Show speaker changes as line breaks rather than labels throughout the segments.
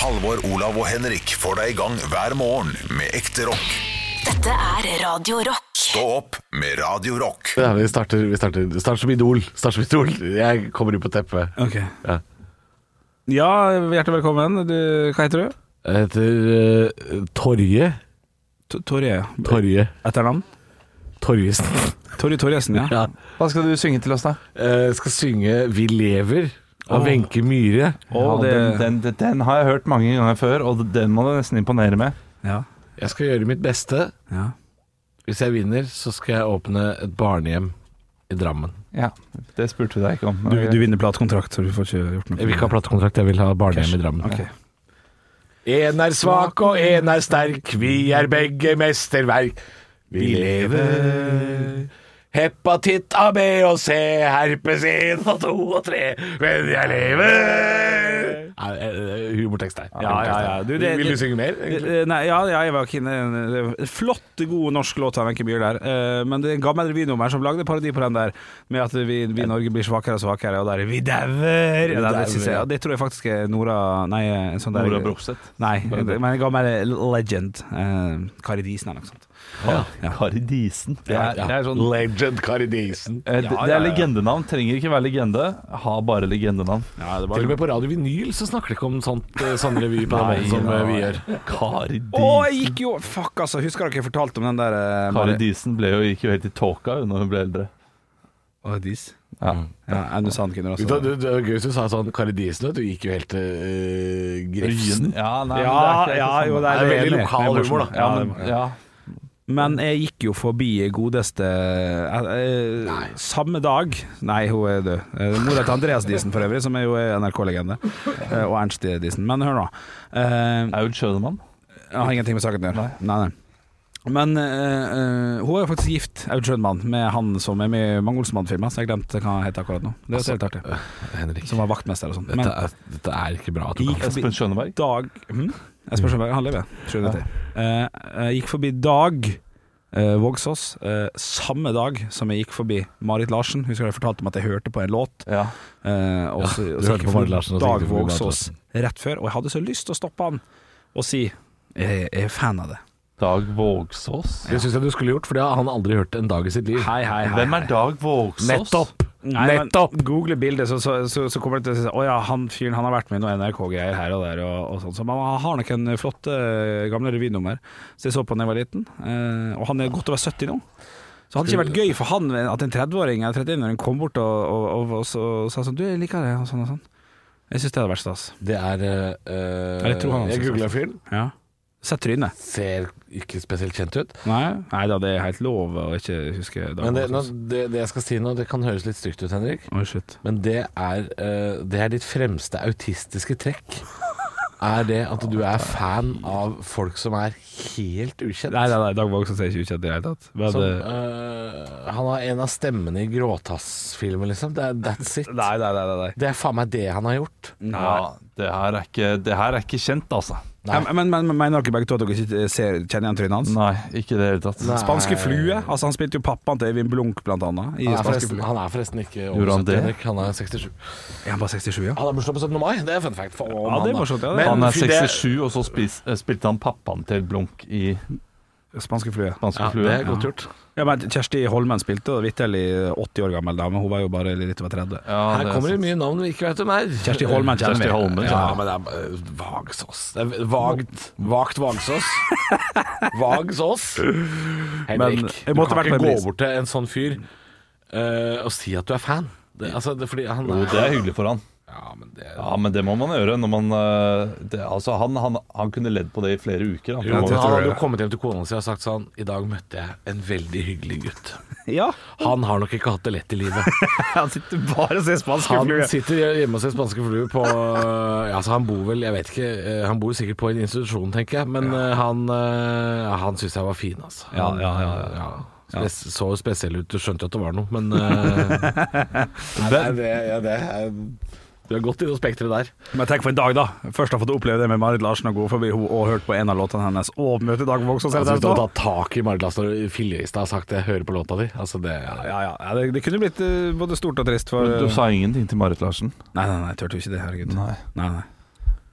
Halvor, Olav og Henrik får deg i gang hver morgen med ekte rock.
Dette er Radio Rock.
Stå opp med Radio Rock.
Ja, vi starter, vi starter. Start som idol. Start som idol. Jeg kommer inn på teppet.
Ok.
Ja.
Ja, hjertelig velkommen. Du, hva heter du?
Jeg heter eh, Torje.
T- Torje.
Torje.
Etternavn?
Torjesen.
Torje Torjesen, ja.
Ja.
Hva skal du synge til oss, da?
Eh, skal synge Vi lever av Wenche Myhre.
Og det,
den, den, den, den har jeg hørt mange ganger før, og den må du nesten imponere med.
ja,
Jeg skal gjøre mitt beste.
ja.
Hvis jeg vinner, så skal jeg åpne et barnehjem i Drammen.
Ja, Det spurte du deg ikke om.
Du, du vinner platekontrakt, så du får ikke gjort noe.
Jeg vil ikke ha platekontrakt, jeg vil ha barnehjem i Drammen.
Ok.
En er svak og en er sterk, vi er begge mesterverk. Vi lever. Hepatitt A, B og C, herpes 1 og 2 og 3, men jeg lever. Nei, eh, Humortekst her.
Ja, ja, ja. Du, det-
vil
det-
du synge mer? egentlig?
Eh, Nei, ja, ja, jeg var ikke inne eh, det var en Flott, god norsk låt av Wenche Myhr der. Eh, Men det er en gammel revynummer som lagde parodi på den der, med at vi, vi i Norge blir svakere og svakere, og der Vi dauer! Ja, det, synes jeg- ja, det tror jeg faktisk er Nora Nei, en sånn der
Nora Brogstedt.
Nei, men en gammel legend. Eh, Kari Disen eller noe sånt. Ja.
Kari Disen. Det er,
Ja.
det er sånn
Legend Kari Disen.
eh, det, det er legendenavn. Trenger ikke være legende. Ha bare legendenavn.
Ja, det
Til og med på Radio Vinyl så snakker de ikke om sånt, eh, sånn revy på den måten som eh, vi gjør.
Kari
Å,
Disen.
jeg gikk jo Fuck, altså. Husker dere jeg fortalte om den der eh,
Kari
Mari-
Disen ble jo, gikk jo helt i tåka jo når hun ble eldre. Mm.
Å, Dis?
Ja.
Ja, Aune Sand kunne
Det,
også
det, det var gøy hvis du sa sånn Kari Disen, vet du gikk jo helt til eh, Grefsen.
Ja, nei, men
Ja,
det er ikke helt det
ja,
samme.
jo, det
Det
er,
er veldig
enig.
lokal
Det er
humor,
morsomt.
da.
Ja,
ja,
det er
men, ja.
Men jeg gikk jo forbi godeste eh, eh, Samme dag Nei, hun er død. Eh, Mora til Andreas Disen, for øvrig, som er jo NRK-legende. Eh, og Ernst Disen. Men hør nå. Eh,
Aud Schønemann.
jeg har ingenting med saken å gjøre. Nei, nei. Men eh, eh, hun er jo faktisk gift, Aud Schønmann, med han som er med i Mange Olsenmann-filmer, så jeg glemte hva han heter akkurat nå. Det er
Altså,
også helt artig.
Henrik,
Som var vaktmester og sånn.
dette
Men
er, dette er ikke bra. at du
jeg
kan-
gikk forbi
Espen Skjønneberg.
Dag hm? Jeg
Mm.
spør ikke om han lever. Tror jeg det heter. Eh, jeg gikk forbi Dag eh, Vågsås eh, samme dag som jeg gikk forbi Marit Larsen. Husker jeg fortalte om at jeg hørte på en låt.
Ja.
eh, og så,
Ja,
og
du
så
hørte på
gikk jeg forbi
Marit Larsen, og så gikk
Dag
du forbi Marit
Vågsås
Larsen.
rett før, og jeg hadde så lyst til å stoppe han og si jeg jeg er fan av det.
Dag Vågsås.
Det syns jeg du skulle gjort, for det har han aldri hørt en dag i sitt liv.
Hei, hei, hei.
Hvem er Dag Vågsås?
Nettopp!
Nei, men
Nettopp!
Google bildet, så, så, så, så kommer det til å si sånn, Å ja, han fyren han har vært med i noen NRK-greier her og der og, og sånn. Så man har nok en flotte gamle revynummer. Så jeg så på da jeg var liten. Eh, og han er godt over 70 nå. Så hadde det ikke vært gøy for han at en 30-åring eller 31-åring kom bort og, og, og, og, så, og sa sånn Du, jeg liker det, og sånn og sånn. Jeg syns det hadde vært stas.
Det er eh,
Jeg tror han
Jeg
synes
googla
det.
fyren.
Ja. Sett trynet.
Ser ikke spesielt kjent ut.
Nei, nei da, det er helt lov å ikke huske dagen.
Men det, nå,
også.
det, det jeg skal si nå, det kan høres litt stygt ut, Henrik,
Oi, shit.
men det er, eh, det er ditt fremste autistiske trekk. Er det at du er fan av folk som er helt ukjent?
Nei, nei, nei, Dag Vågsås er ikke ukjent i det hele tatt. Men,
Som,
eh,
eh, han har en av stemmene i Gråtass-filmen, liksom. Det er, that's it.
nei, nei, nei, nei.
Det er faen meg det han har gjort.
Ja, det her er ikke, det her er ikke kjent, altså.
Ja, men, men, men mener dere begge to at dere ikke ser, kjenner igjen trynet hans?
Nei, ikke i det hele tatt.
Nei.
Spanske flue. Altså Han spilte jo pappaen til Øyvind Blunk, blant annet. I
Han er
Spanske
forresten,
flue.
han er forresten ikke over
Gjorde han
70,
det?
Henrik. Han er 67.
Er han bare 67, ja?
Han har bursdag på 17. mai, det er fun fact. For å,
Ja, det er
mann, da.
morsomt. Ja, det.
Men-
Han er
fy, det-
67, og så spis, eh, spilte han pappaen til Blunk i
Spanske flue.
Spanske
Ja,
flue.
det er godt gjort.
Ja, men Kjersti Holmen spilte og Vittel i 80 år gammel dame. Hun var jo bare litt over 30.
Ja,
Her
det
kommer
er
det mye navn vi ikke vet hvem er.
Kjersti Holmen kjenner
Kjersti
vi.
Holmen,
Ja,
ja.
men det er eh, Vagsås. Det er vagt, vagt Vagsås. Vagsås. Henrik,
Men jeg
du
måtte
kan
vært
ikke
på en
gå
liste.
bort til en sånn fyr eh, og si at du er fan. Det, altså, det, er fordi han
sant. Jo, det er hyggelig for han.
Ja, men det
Ja, men det må man gjøre når man eh, det, Altså, han, han, han kunne ledd på det i flere uker. Han.
Jo, men han
Han var-
hadde jo kommet hjem til kona si og sagt sånn I dag møtte jeg en veldig hyggelig gutt.
Ja.
Han har nok ikke hatt det lett i livet.
Han sitter bare og ser Spanske
Han
flue.
sitter hjemme og ser spanske fluer på ja, altså Han bor vel, jeg vet ikke eh, Han bor sikkert på en institusjon, tenker jeg Men eh, han, eh, han synes jeg var fin altså.
Ja,
Han,
ja, ja, ja.
ja. Spes- Så spesiell ut, du skjønte jo at det var noe Men eh, nei, nei, det, ja, det er, Du har gått i noe spektret der
Men tenk for en dag, da. Først har fått oppleve det med Marit Larsen og gå forbi henne og hørt på en av låtene hennes. Og møte Dag Vågsås.
altså, Hvis du
etterpå.
hadde tatt tak i Marilast og Filjeristad og sagt Jeg hører på låta di altså, det, ja, ja.
Ja, ja. ja det, det kunne blitt eh, både stort og trist for
Du sa ingenting til Marit Larsen?
Nei, nei, nei, jeg turte jo ikke det. Herregud.
Nei.
Nei, nei.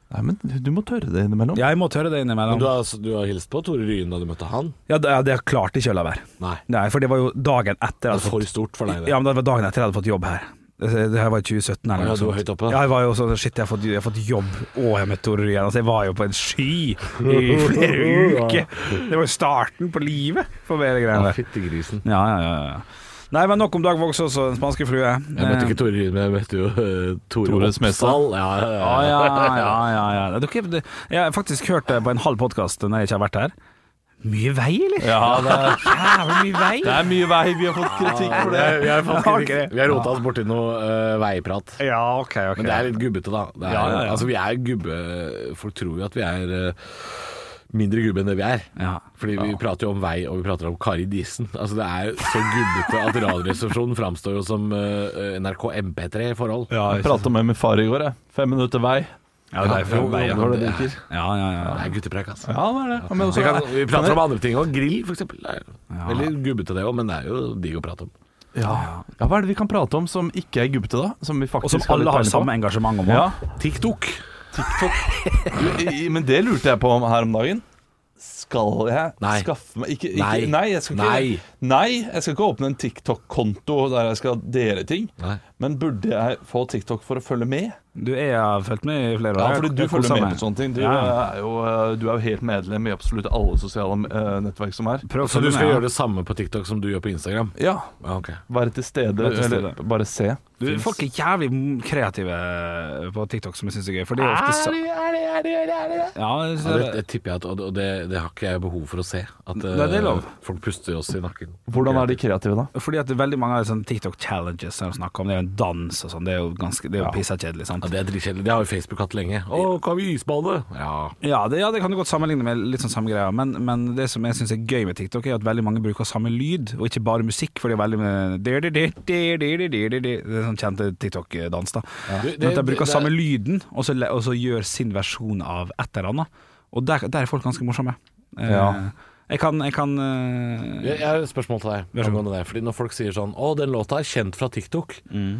Nei, men du- du må tørre det innimellom.
Jeg må tørre det
Men du
innimellom.
har, altså, du har hilst på Tore Ryen da du møtte han?
Ja, det, det klarte ikke jeg å la være.
Nei.
Nei, for det var jo dagen etter
Det
jeg
er
hadde
for
fått
stort for deg, det.
Ja, men det var dagen etter jeg hadde fått jobb her. Det det her var i 2017 eller
Ja,
noe
du var
sånt.
høyt oppe.
Ja, jeg var jo sånn Shit, jeg har fått, jeg har fått jobb, og jeg møtte Tore Ryen. Altså, jeg var jo på en sky i flere uker. Det var jo starten på livet for hele greia der.
Fittegrisen.
Ja, ja, ja, ja. Nei, men nok om Dag Vågs også, Den spanske flue.
Jeg møtte
Eh,
ikke Tore Ryen, men jeg møtte jo eh, Tore
Tore Smestad.
Oppsal. Ja, ja, ja.
Ja, Eh, Ah, ja, ja, ja, ja. Dere, det- jeg har faktisk hørt det på en halv podkast når jeg ikke har vært her. Mye vei, eller?
Ja, det er,
Jævlig mye vei.
det er mye vei. Vi har fått kritikk for
Vi
det.
har- vi har fått
Ja,
kritikk.
ok.
Vi har rota oss borti noe eh, veiprat.
Ja, ok, ok.
Men det er litt gubbete, da. Det er,
Ja, ja, ja.
Altså, vi er gubbe Folk tror jo at vi er eh, mindre gubbe enn det vi er.
Ja.
Fordi vi prater jo om vei, og vi prater om Kari Disen. Altså, det er jo så gubbete at Radioresepsjonen framstår jo som eh, NRK MP3 i forhold.
ja,
Jeg prata med min far i går. Jeg. Fem minutter vei.
ja, det er
Jo,
fem
jo,
veier.
Når du
det er-
drikker.
Ja, ja, ja.
Det er guttepreik, altså.
Ja, det er det. Men også,
Vi, kan, vi prater om andre ting òg. Grill, f.eks. Veldig gubbete, det òg, men det er jo digg å prate om.
ja. ja, hva er det vi kan prate om som ikke er gubbete, da? Som vi
Og
faktisk
som alle
litt
har
peiling på?
samme engasjement om.
Ja,
TikTok.
Du, i- i- Men det lurte jeg på om her om dagen. Skal jeg
Nei.
skaffe meg ikke, ikke,
Nei.
nei. jeg skal ikke,
Nei.
Nei, jeg skal ikke åpne en TikTok-konto der jeg skal dele ting.
Nei.
Men burde jeg få TikTok for å følge med?
Du er, jeg har fulgt med i flere år.
Ja, fordi du
Jeg
følger
koser
med
meg.
på sånne ting. Du,
Ja.
er, jo, eh, du er jo helt medlem i absolutt alle sosiale eh, nettverk som er.
Prøv å
Så du skal
følge med, sånn, ja.
gjøre det samme på TikTok som du gjør på Instagram?
Ja.
Ja, ok.
Være til stede,
Være til stede.
eller bare se.
du, Folk er jævlig m- kreative på TikTok, som jeg syns er gøy. For det er ofte så Ja, jeg
Ja,
synes
det,
det,
det tipper jeg at Og og det, det har ikke jeg behov for å se. At
Nei, det er lov.
eh, folk puster oss i nakken.
Hvordan er de kreative, da?
fordi at det er veldig mange av sånne TikTok-challenges som de snakker om, det er jo en dans og sånn, det er jo ganske Det er jo pissakjedelig, sant.
Ja, det er dritkjedelig. Det har jo Facebook hatt lenge. Å, kan vi isbade? Ja.
Ja det, ja, det kan du godt sammenligne med litt sånn samme greia, men, men det som jeg syns er gøy med TikTok, er at veldig mange bruker samme lyd, og ikke bare musikk, for det er veldig mye- Det er sånn kjente TikTok-dans, da.
Du, det-
Men at de
det-
bruker samme lyden, og så, le- og så gjør sin versjon av et eller annet. Og der, der er folk ganske morsomme. Eh,
Ja.
Jeg kan, jeg kan eh,
Jeg jeg har et spørsmål til deg.
Vær så god.
angående Det. Fordi Når folk sier sånn Å, den låta er kjent fra TikTok.
Mm.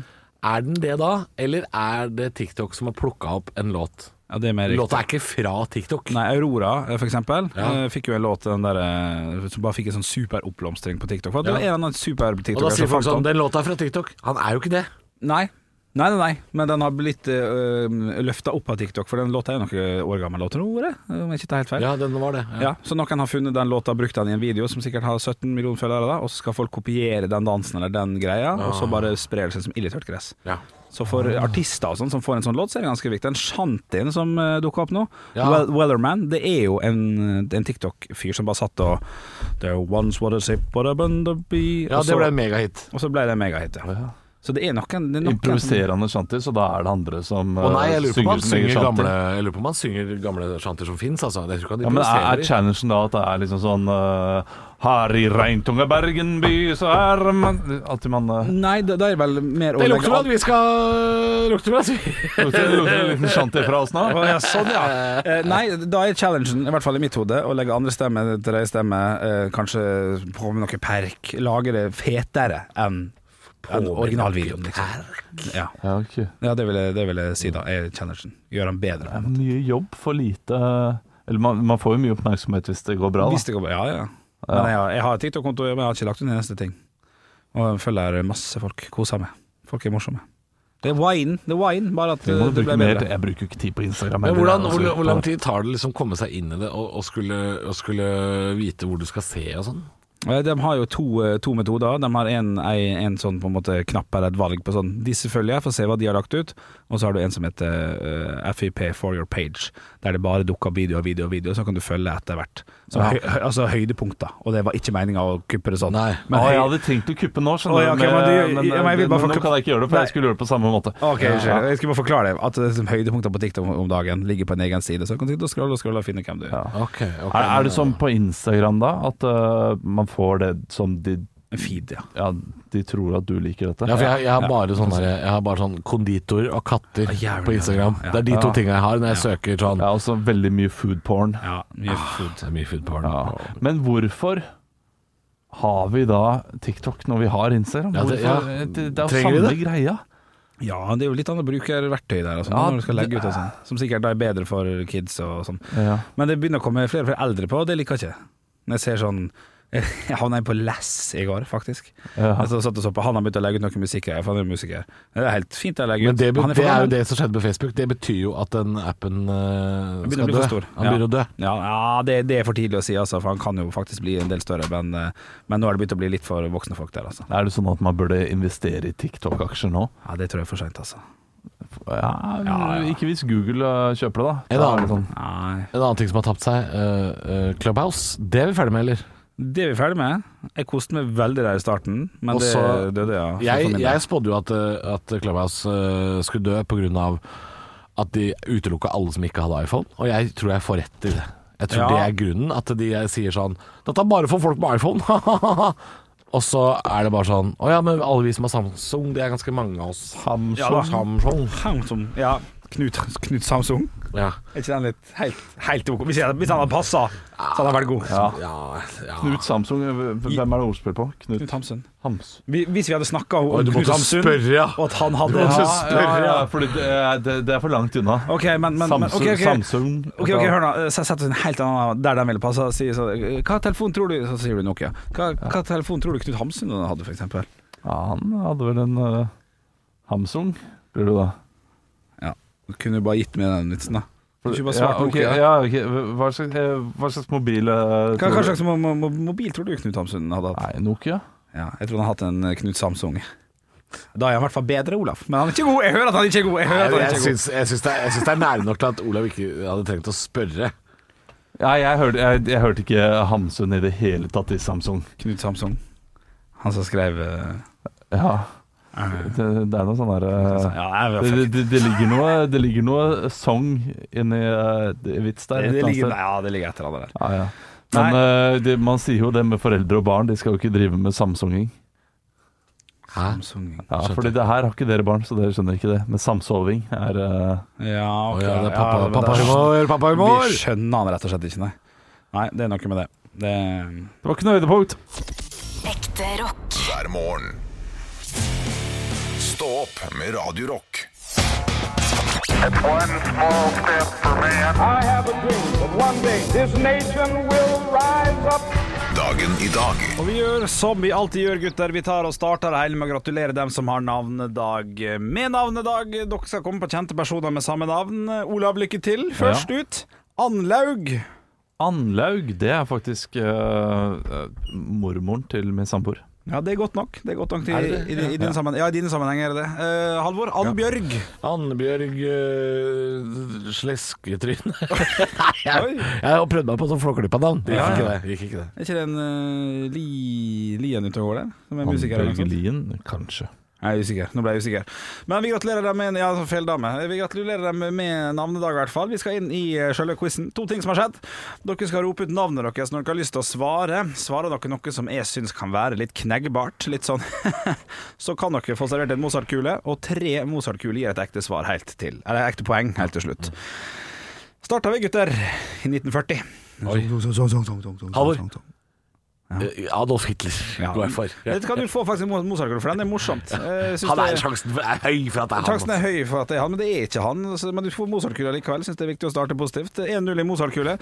Er den det da, eller er det TikTok som har plukka opp en låt?
Ja, det er mer riktig.
Låta er ikke fra TikTok.
Nei, Aurora eh, for eksempel
Ja.
eh, fikk jo en låt den der, eh, som bare fikk en sånn superoppblomstring på TikTok. For at det
Ja.
var en eller annen super
Og da
TikToker
sier
som
folk
fant
sånn
den.
Den låta er fra TikTok. Han er jo ikke det.
Nei. Nei, nei, nei, men den har blitt uh, løfta opp av TikTok, for den låta er noen år gammel, låter, nå, eller? om jeg ikke tar helt feil.
Ja, den var det.
Ja, så noen har funnet den låta og brukt den i en video som sikkert har 17 millioner følgere, da, og så skal folk kopiere den dansen eller den greia, og så bare sprer det seg som ildtørt gress.
Ah. Ja. Ah.
Så for artister og sånn som får en sånn låt, så er det ganske viktig. Den shantien som uh, dukka opp nå,
Ja.
well, Wellerman, det er jo en, eh, en TikTok-fyr som bare satt og There once was a zip, what a bun to be
Ja,
og
det
så-
ble en megahit.
Og så ble det en megahit, ja. Så det er noen, det er noen
Improviserende shanty, så da er det andre som
Å nei, jeg
eh,
lurer på om han
sin egen
synger
shanty.
gamle Jeg lurer på om han synger gamle shanter som fins, altså. Jeg tror ikke han
Ja, men er, er
improviserer.
challengen da at det er liksom sånn eh, Her i Reintunga Bergen by, så er man At man eh,
Nei, det, det er vel mer å
det
legge
lukter vel at vi skal Lukter vel at vi
lukter, lukter en liten shanty fra oss nå?
Å, ja, sånn, ja. Eh, nei, da er challengen, i hvert fall i mitt hode, å legge andre stemme til deres stemme, eh, kanskje på med noe perk, lage det fetere enn enn originalvideoen. Liksom. Ja.
Ja, ok.
ja, det vil jeg, det vil jeg si da, er challengen. Gjøre den bedre.
Mye jobb for lite eh, Eller man, man får jo mye oppmerksomhet hvis det går bra,
Hvis
da.
det går bra, ja ja. Men jeg, har- jeg har TikTok-konto, men jeg har ikke lagt ut en eneste ting. Og jeg følger masse folk, koser meg. Folk er morsomme. Det er wine, det er wine, bare at
Vi
eh,
må
det
bruke
ble
mer.
bedre.
Jeg bruker jo ikke tid på Instagram.
Men
heller,
hvordan,
altså.
hvor, hvor lang tid tar det liksom å komme seg inn i det og, og, skulle, og skulle vite hvor du skal se og sånn?
Eh, De har jo to, eh, to metoder. De har en, ei- en sånn på en måte knapp eller et valg på sånn Disse følger jeg, for å se hva de har lagt ut. Og så har du en som heter eh, FIP for your page, der det bare dukker video og video og video, så kan du følge etter hvert. Så, høy, høy, altså høydepunkter. Og det var ikke meninga å kuppe det sånn.
Nei.
Men
Å,
høy,
jeg hadde tenkt å kuppe nå, skjønner
Å, ja, ok,
du,
men du-
men,
ja, men jeg vil
eh,
bare
nå
forkl-
kan jeg ikke gjøre det, for
Nei.
jeg skulle gjøre det på samme måte.
Ok,
Ja.
unnskyld. Jeg skal bare forklare det. At det er høydepunkter på TikTok om dagen ligger på en egen side. Så du kan sitte og scrolle og scrolle og finne hvem du er.
Ja.
Ok, ok.
Er, er det sånn på Instagram, da, at eh, man får det som de
En feed, ja.
Ja, de tror at du liker dette?
Ja, for jeg, jeg har bare sånn der- jeg har bare sånn konditor og katter
jævlig,
på Instagram.
ja.
Det er de to tingene jeg har når jeg søker sånn.
Ja, også veldig mye food porn.
ja mye food.
Det er mye food porn.
Ja. Men hvorfor har vi da TikTok når vi har Instagram?
Ja, det-
Hvorfor- Eh,
ja.
Det, det er jo
Trenger vi
samme
det?
greia.
Ja, det er jo litt annet brukerverktøy der, altså,
Ja,
når du skal legge ut og sånn. Som sikkert da er bedre for kids og sånn.
Ja.
Men det begynner å komme flere og flere eldre på, og det liker jeg ikke. Når jeg ser sånn Jeg havna inn på Lass i går, faktisk.
Ja.
Jeg så- satt og så på, Han har begynt å legge ut noe musikk her, for han er musiker. Det er helt fint å legge ut.
Men det, be-
Han
det er jo
fornøyd.
det som skjedde med Facebook. Det betyr jo at den appen eh,
Han begynner å
skal
bli
dø.
for stor.
Han begynner å dø.
Ja, ja det, det er for tidlig å si, altså, for han kan jo faktisk bli en del større. Men, eh, men nå har det begynt å bli litt for voksne folk der, altså.
Er det sånn at man burde investere i TikTok-aksjer nå?
Ja, Det tror jeg er for seint, altså.
Ja, Ikke hvis Google eh, kjøper det, da.
En
Da er
annen.
det sånn.
Nei.
En annen ting som har tapt seg, eh, eh, Clubhouse. Det er vi ferdig med, eller?
Det er vi ferdig med. Jeg koste meg veldig der i starten, men
Og så-
det døde, ja. for- for
Jeg,
min del.
jeg spådde jo at, eh, at Clubhouse eh, skulle dø pga. at de utelukka alle som ikke hadde iPhone, og jeg tror jeg får rett i det. Jeg tror
Ja.
det er grunnen, at de sier sånn Dette er bare for folk med iPhone! og så er det bare sånn Å ja, men alle vi som har Samsung, det er ganske mange av oss.
Samsung.
Ja da.
Samsung.
Samsung. Ja, Knut, Knut Samsung.
Ja.
Er ikke den litt helt, helt ok? Hvis, jeg, hvis han hadde passa, så hadde han vært god.
Ja.
Ja, ja.
Knut Samsung, eh, hvem er det ordspill på? Knut,
Knut Hamsun.
Hams.
Vi- Hvis vi hadde snakka om
Oi, du
Knut
måtte
Hamsun,
spørre, ja.
og at han hadde
Ja,
ja,
ja, ja, fordi det, er- det, det er for langt unna.
OK, men, men, men
Samsung,
ok, ok.
Samsung
Ok, ok, hør nå. Eh, Sett sett oss i en helt annen der den ville passa. Si, så, eh, hva telefon tror du Så sier du Nokia. Hva, hva telefon tror du Knut Hamsun hadde, for eksempel?
Ja, han hadde vel en eh, Hamsung, blir du da.
Ja. Kunne du bare gitt meg den vitsen, da? Kunne du ikke bare
ja,
svart
ok,
Nokia?
ja, ok. Hva slags, eh, hva slags mobil eh,
Hva,
tror
hva
du-
slags mo- mo- mobil tror du Knut Hamsun hadde hatt?
Nei, Nokia?
Ja, jeg tror han har hatt en eh, Knut Samsung. Da er han i hvert fall bedre, Olaf. Men han er ikke god! Jeg hører at han ikke er god! Jeg hører
Jeg,
at han
jeg,
ikke er god.
syns, jeg, syns det er, jeg syns det er nære nok til at Olav ikke hadde trengt å spørre.
Nei, jeg hørte, jeg, jeg hørte ikke Hamsun i det hele tatt i Samsung.
Knut Samsung. Han som skrev eh,
Ja, det, det er noe sånn der eh,
Ja, jeg vet
det,
ikke.
det, det, det ligger noe Det ligger noe song inni eh, det- vits der.
det, det
et eller annet
ligger,
sted.
ja, det ligger etter han der.
Ja, ja. Men
Nei.
eh, det, man sier jo det med foreldre og barn, de skal jo ikke drive med samsunging.
Hæ?
Samsung.
Ja, fordi det her har ikke dere barn, så dere skjønner ikke det. Men samsoving er eh,
Ja,
Å
ok.
ja, det er pappa,
men
pappa
det- sånn-
humor, pappa humor!
Vi skjønner han rett og slett ikke, nei. Nei, det er noe med det. det
Det var ikke noe høydepunkt!
Ekte rock.
hver morgen. Stå opp med Radio Rock.
One small step for man. I have a dream that one day this nation will rise up.
Dagen i dag
Og vi gjør som vi alltid gjør, gutter. Vi tar og starter det hele med å gratulere dem som har navnedag med navnedag. Dere skal komme på kjente personer med samme navn. Olav, lykke til. Først ut. Annlaug.
Anlaug, det er faktisk eh, eh, mormoren til min samboer.
Ja, det er godt nok. Det er godt nok til, I, i, i, din sammen, ja, I dine sammenhenger er det det. Eh, Halvor. Annbjørg.
Annebjørg uh, Slesketryne.
Oi.
Jeg prøvde meg på sånn Flåklypa-navn. Det
Ja,
gikk ikke
ja.
det. det. Gikk ikke det.
Er ikke det en uh, li, Lien ute og går der? Som er musiker? eller noe
Anlaug
sånt?
Lien, kanskje.
Jeg er usikker. Nå ble jeg usikker. Men vi gratulerer dem med ja, altså, feil dame. Vi gratulerer dem med navnedag, i hvert fall. Vi skal inn i eh, selve quizen. To ting som har skjedd. Dere skal rope ut navnet deres når dere har lyst til å svare. Svarer dere noe som jeg syns kan være litt kneggbart, litt sånn så kan dere få servert en Mozart-kule, og tre Mozart-kuler gir et ekte svar helt til. Eller ekte poeng helt til slutt. Starta vi, gutter, i 1940.
Halvor. Eh, Adolf Hitler
Ja.
går jeg for. Ja.
Dette kan du få faktisk en Mo- Mozart-kule, for den er morsomt. Jeg synes
Han
det
er sjansen for, er høy for at det er han. altså.
Sjansen er høy for at det er han, men det er ikke han. så- Men du får Mozart-kula likevel. Syns det er viktig å starte positivt. 1-0 i Mozart-kule.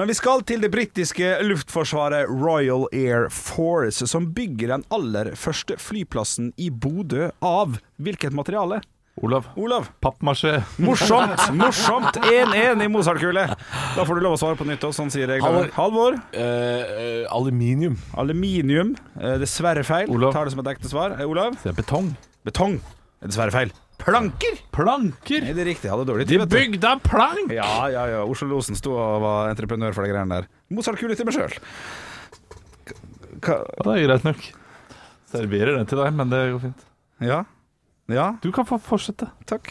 Men vi skal til det britiske luftforsvaret Royal Air Force, som bygger den aller første flyplassen i Bodø av hvilket materiale?
Olav.
Olav?
Pappmasjé.
Morsomt! Morsomt! 1-1 i Mozart-kule. Da får du lov å svare på nytt òg, sånn sier reglene.
Halvor.
Halvor.
Eh, eh, aluminium.
Aluminium. Eh, Dessverre feil.
Olav.
Tar det som et ekte svar. Eh, Olav?
Det er betong.
Betong. Dessverre feil. Planker!
Planker!
Nei, det er riktig. Jeg hadde dårlig tid.
De
vet du.
bygde plank!
Ja, ja, ja. Oslo Losen sto og var entreprenør for de greiene der. Mozart-kule til meg sjøl.
Ja, det er greit nok. Serverer den til deg, men det går fint.
Ja. Ja,
Du kan få fortsette.
takk.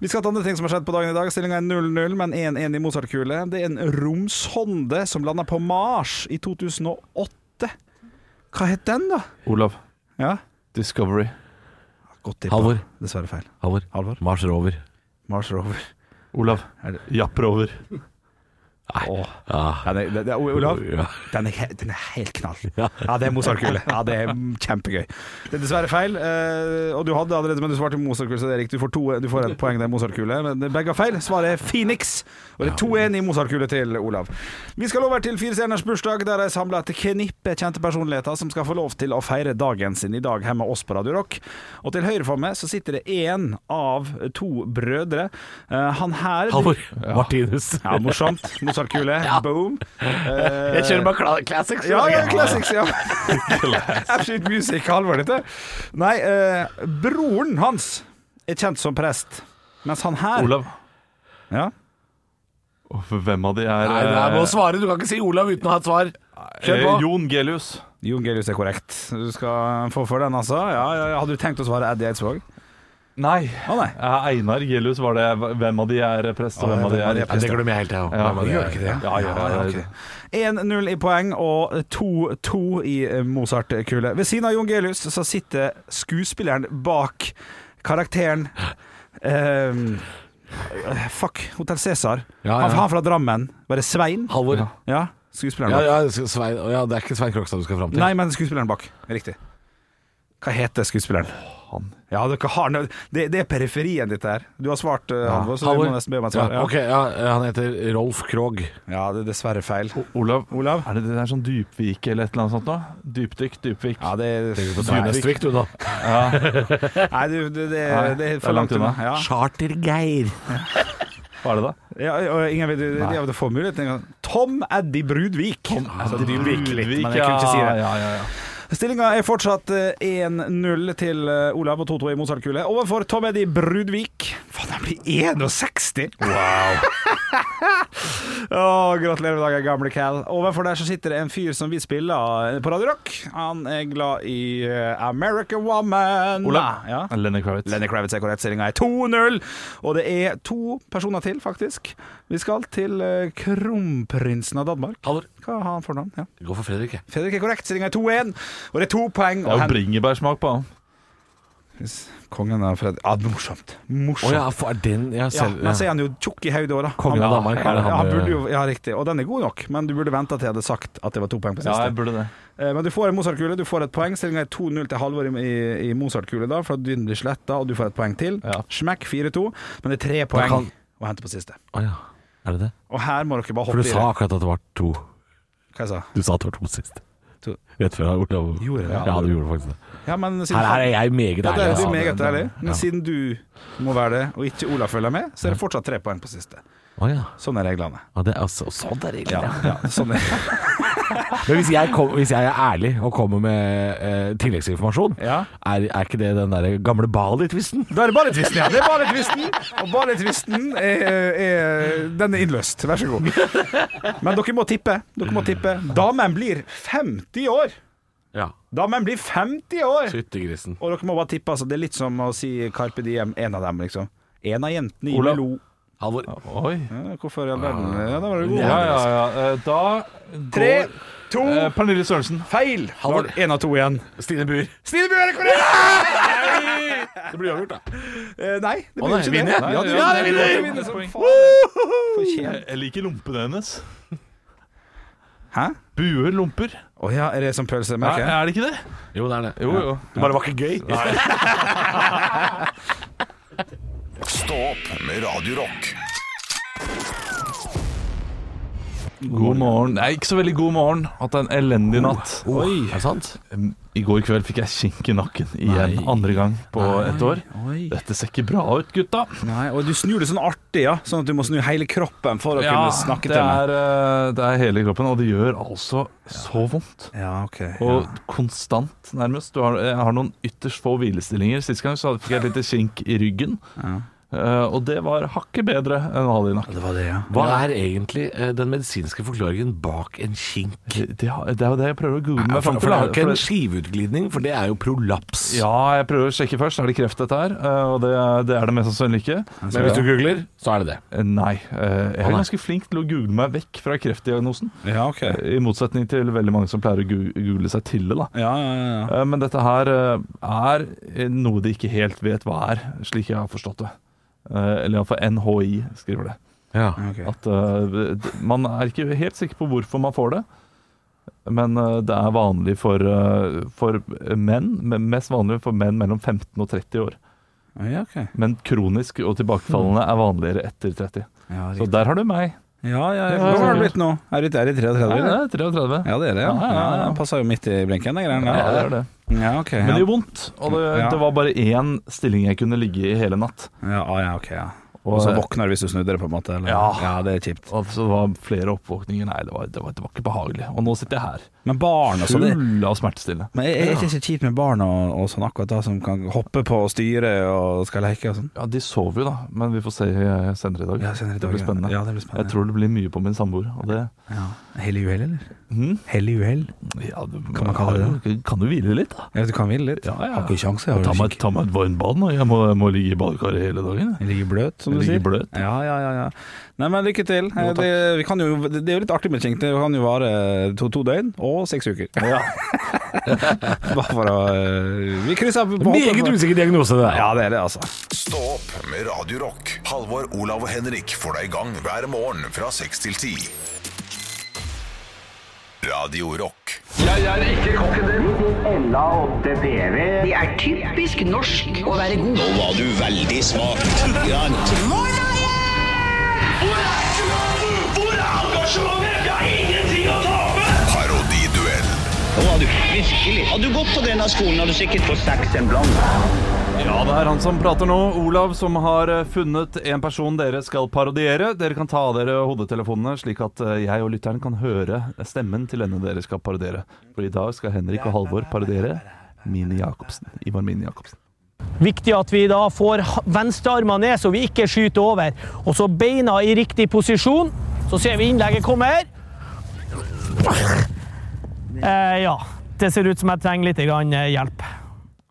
Vi skal til andre ting som har skjedd på dagen i dag. Stillinga er 0-0, men 1-1 i Mozart-kule. Det er en romsonde som landa på Mars i 2008. Hva het den, da?
Olav.
Ja.
Discovery.
Godt tippa.
Halvor.
Dessverre feil.
Halvor.
Halvor.
Mars Rover.
Mars Rover.
Olav.
Er det-
Japprover.
Åh.
Ah.
Den er, den er, Olav, den er, he- den er helt knall. Ja, det er Mozart-kule. Ja, det er kjempegøy. Det er dessverre feil, eh, og du hadde allerede, men du svarte Mozart-kule, så det er riktig. Du får, to, du får et poeng, det er Mozart-kule, men begge har feil. Svaret er Phoenix, og det er 2-1 i Mozart-kule til Olav. Vi skal over til Fire stjerners bursdag, der jeg samla et knippe kjente personligheter som skal få lov til å feire dagen sin i dag her med oss på Radio Rock. Og til høyre for meg så sitter det én av to brødre. Eh, han her
Halvor Martinus.
ja, morsomt. Mozartkule. Boom. Eh,
Jeg kjører bare kla- classics.
ja, ja, classics, ja. Absolute music, Halvor, dette. Nei, eh, broren hans er kjent som prest, mens han her
Olav,
Ja.
hvem av de er
Nei, nei, jeg
eh,
må svare. Du kan ikke si Olav uten å ha et svar. Kjør på.
eh, Jon Gelius.
Jon Gelius er korrekt. Du skal få for den, altså. Ja, ja, ja. Hadde du tenkt å svare Eddie Eidsvåg?
Nei.
Å nei.
Eh, Einar Gelius var det. Hvem av de er prest, og hvem av de er
Ja, det glemmer jeg helt, jeg òg.
Ja,
Gjør ikke det?
Ja, ja, ja, ja.
1-0 i poeng og 2-2 i eh, Mozart-kule. Ved siden av Jon Gelius så sitter skuespilleren bak karakteren ehm, Fuck, Hotell Cæsar.
Ja, ja.
Han, han fra Drammen. Var det Svein?
Halvor.
Ja, skuespilleren
Ja,
bak.
ja, Svein, ja, det er ikke Svein Krokstad du skal fram til?
Nei, men skuespilleren bak. Riktig. Hva heter skuespilleren? Ja, dere har nød... det, det er periferien ditt her. Du har svart, eh, Halvor, så du må nesten be om et svar.
Ja,
Ja,
ok, ja, eh, han heter Rolf Krogh.
ja det er dessverre feil.
Olav,
Olav?
er det det der sånn dypvike eller et eller annet sånt da? Dypdykk, dypvik.
Ja, det er
Dunestvik, du, da.
Nei, du, det, det,
Nei,
det er
det
for
er
langt
langt
unna.
unna.
Ja.
Charter-Geir.
Hva er det da?
Ja, og Ingen vil de, de hadde få muligheten en gang. Tom Eddie Brudvik. Tom Eddie
Dypvik,
men jeg kunne ikke si det.
Ja, ja, ja.
Stillinga er fortsatt eh, 1-0 til eh, Olav og 2-2 i Mozart-kule. Overfor Tom Eddie Brudvik. Faen, han blir 61! Åh, gratulerer med dagen, gamle Cal. Overfor der så sitter det en fyr som vi spiller eh, på Radio Rock. Han er glad i eh, American Woman.
Olav?
Ja?
Lenny Kravitz.
Lenny Kravitz er korrekt. Stillinga er 2-0. Og det er to personer til, faktisk. Vi skal til eh, kronprinsen av Danmark.
Halvor.
Hva har han for navn? Ja.
Gå for Fredrik, jeg.
Fredrik er korrekt. Stillinga er 2-1. Og det er to poeng.
Det er
å
jo
hente.
bringebærsmak på han.
Kongen av Fredrik Ja, morsomt.
Å
Morsomt.
ja, for er den jeg
Ja,
selv
men så er han jo tjukk i hodet òg, da.
Kongen av
Han-
Danmark, er det han
Ja,
eh?
ja, han
du-
burde jo, ja, riktig. Og den er god nok, men du burde venta til jeg hadde sagt at det var to poeng på
Ja,
siste.
jeg burde det.
Eh, Men du får en Mozart-kule, du får et poeng. Stillinga er 2-0 til Halvor i, i- i Mozart-kule, da, for at du blir sletta, og du får et poeng til.
Ja.
Smekk 4-2, men det er tre poeng
kan-
å hente på siste.
Å ja. Er det det?
Og her må dere bare
For
hoppe
du sa
i det.
akkurat at det var to.
Hva jeg sa
Du sa at det var to sist.
To.
Rett før jeg Olav
Gjorde jeg det?
Ja, du gjorde faktisk det.
Ja, men siden
Her, her er jeg meget
ja, det er
ærlig.
du
altså.
meget ærlig. Men
Ja.
siden du må være det, og ikke Olav følger med, så er det fortsatt tre poeng på siste.
Å ja.
Sånn er reglene.
ja det er altså, sånn er
Ja,
reglene.
ja, sånn er.
Men hvis jeg, kom, hvis jeg er ærlig og kommer med eh, tilleggsinformasjon,
Ja.
er, er ikke det den der gamle Bali-tvisten?
Da er det balletvisten, ja. Det er balletvisten, og balletvisten er, er Den er innløst. Vær så god. Men dere må tippe. Dere må tippe. Damen blir 50 år.
Ja.
Damen blir 50 år!
Fyttegrisen.
Og dere må bare tippe, altså. Det er litt som å si Carpe Diem, en av dem, liksom. En av jentene i
Olav.
Melo.
Halvor.
Oi.
Ja, hvorfor i all verden? Ja, da var det god.
Ja, ja, ja. Eh, Da går
Tre, to,
eh, Pernille Sørensen.
feil! Da var det en av to igjen.
Stine Buer.
Stine Bjørn er korrekt!
Det blir uavgjort, da.
Eh, Nei, det
nei,
blir ikke
vinner
det.
jeg?
Ja, du
Ja,
vinner.
det
Du
vinner.
vinner som
Poeng.
faen. Fortjent.
Jeg liker lompene hennes.
Hæ?
Buer lomper.
Å ja, er det sånn som pølsemerke?
Er, er det ikke det?
Jo, det er det.
Jo, jo.
Det bare var ikke gøy.
Stå opp med Radio Rock.
God morgen. Nei, ikke så veldig god morgen. Hatt en elendig natt.
Oi. Er det sant?
Um, I går kveld fikk jeg kink i nakken igjen. Andre gang på et år.
Oi.
Dette ser ikke bra ut, gutta.
Nei, og du snur det sånn artig, ja. Sånn at du må snu hele kroppen for å kunne snakke
det
til meg.
er, eh, det er hele kroppen, og det gjør altså så vondt.
Ja, ok.
Og konstant, nærmest. Du har, jeg har noen ytterst få hvilestillinger. Sist gang så hadde- fikk jeg et lite kink i ryggen. Eh, og det var hakket bedre enn å ha det i nakken.
Det var det, ja.
Hva er egentlig eh, den medisinske forklaringen bak en kink?
Det, det har- det er jo det jeg prøver å google meg
For,
fram
for
til.
det
da.
er jo ikke
For
en
det-
skiveutglidning, for det er jo prolaps.
Ja, jeg prøver å sjekke først. Er det kreft, dette her? Eh, og det, er- det er det mest sannsynlig ikke.
Men hvis du googler, så er det det.
Eh, Nei. eh, Jeg er
nei.
ganske flink til å google meg vekk fra kreftdiagnosen. Eh,
Ja, ok. Ja,
I motsetning til veldig mange som pleier å gu- google seg til det. da
ja, ja. ja.
Eh, Men dette her eh, er Eh, noe de ikke helt vet hva er, slik jeg har forstått det. Eh, Eller iallfall NHI skriver det.
Ja.
At eh, d- Man er ikke helt sikker på hvorfor man får det, men eh, det er vanlig for, eh, for menn, men mest vanlig for menn mellom 15 og 30 år.
Ja, ok.
Men kronisk og tilbakefallende er vanligere etter 30.
Ja,
Så
riktig.
der har du meg.
ja, ja, ja. Hvor har det blitt nå? Er du er du 33?
Ja, det
eller?
er 33.
Ja, det er det. Ja.
Ja, ja, ja.
Ja, det passer jo midt i blinken, de greiene
Ja, det
der.
er det.
Ja, ok.
Men
Ja,
det gjør vondt, og det,
Ja.
det var bare én stilling jeg kunne ligge i hele natt.
ja, ah, ja ok. Ja. Og så våkner du hvis du snudde det, på en måte? Eller?
Ja.
ja, det er kjipt.
Og så det var flere oppvåkninger. Nei, det var, det, var, det var ikke behagelig. Og nå sitter jeg her,
Men barn og sånn det-
full av smertestillende.
Men er er det ikke kjipt med barn og, og sånn akkurat da, som kan hoppe på og styre og skal leke og sånn?
Ja, de sover jo, da, men vi får se eh, senere i dag.
Ja, senere i
det
dag,
blir
ja.
spennende.
Ja, det blir spennende.
Jeg tror det blir mye på min samboer. Og det
Ja. Hellig uhell, eller?
Mhm.
Hellig uhell?
ja, du-
Kan man kalle det
Kan du hvile litt, da?
Jeg vet du kan ville litt.
Ja, ja.
Har ikke sjanse. Har
Ta
du
meg,
ikke.
ta meg et varmt bad nå. Jeg må, må ligge i badekaret hele dagen. jeg.
Jeg ligger bløt, som
Jeg
du sier.
ligger bløt.
Ja, ja, ja, ja. Nei, men lykke til. Eh,
takk.
det, vi kan jo, det er jo litt artig med kink. Det kan jo vare to, to døgn og seks uker. Bare for å eh, Vi krysser på
Meget usikker diagnose, det der.
Ja, det er det, altså.
Stå opp med Radio Rock. Halvor, Olav og Henrik får deg i gang hver morgen fra 6 til 10. Radio Rock.
Det er typisk norsk å være god.
Parodiduell.
Ja, det er han som prater nå. Olav, som har eh, funnet en person dere skal parodiere. Dere kan ta av dere hodetelefonene, slik at eh, jeg og lytteren kan høre stemmen til denne dere skal parodiere. For i dag skal Henrik og Halvor parodiere Mini Jacobsen. Ivar Mini Jacobsen.
Viktig at vi da får ha- venstrearmene ned, så vi ikke skyter over. Og så beina i riktig posisjon. Så ser vi innlegget kommer. Eh, ja. Det ser ut som jeg trenger litt grann eh, hjelp.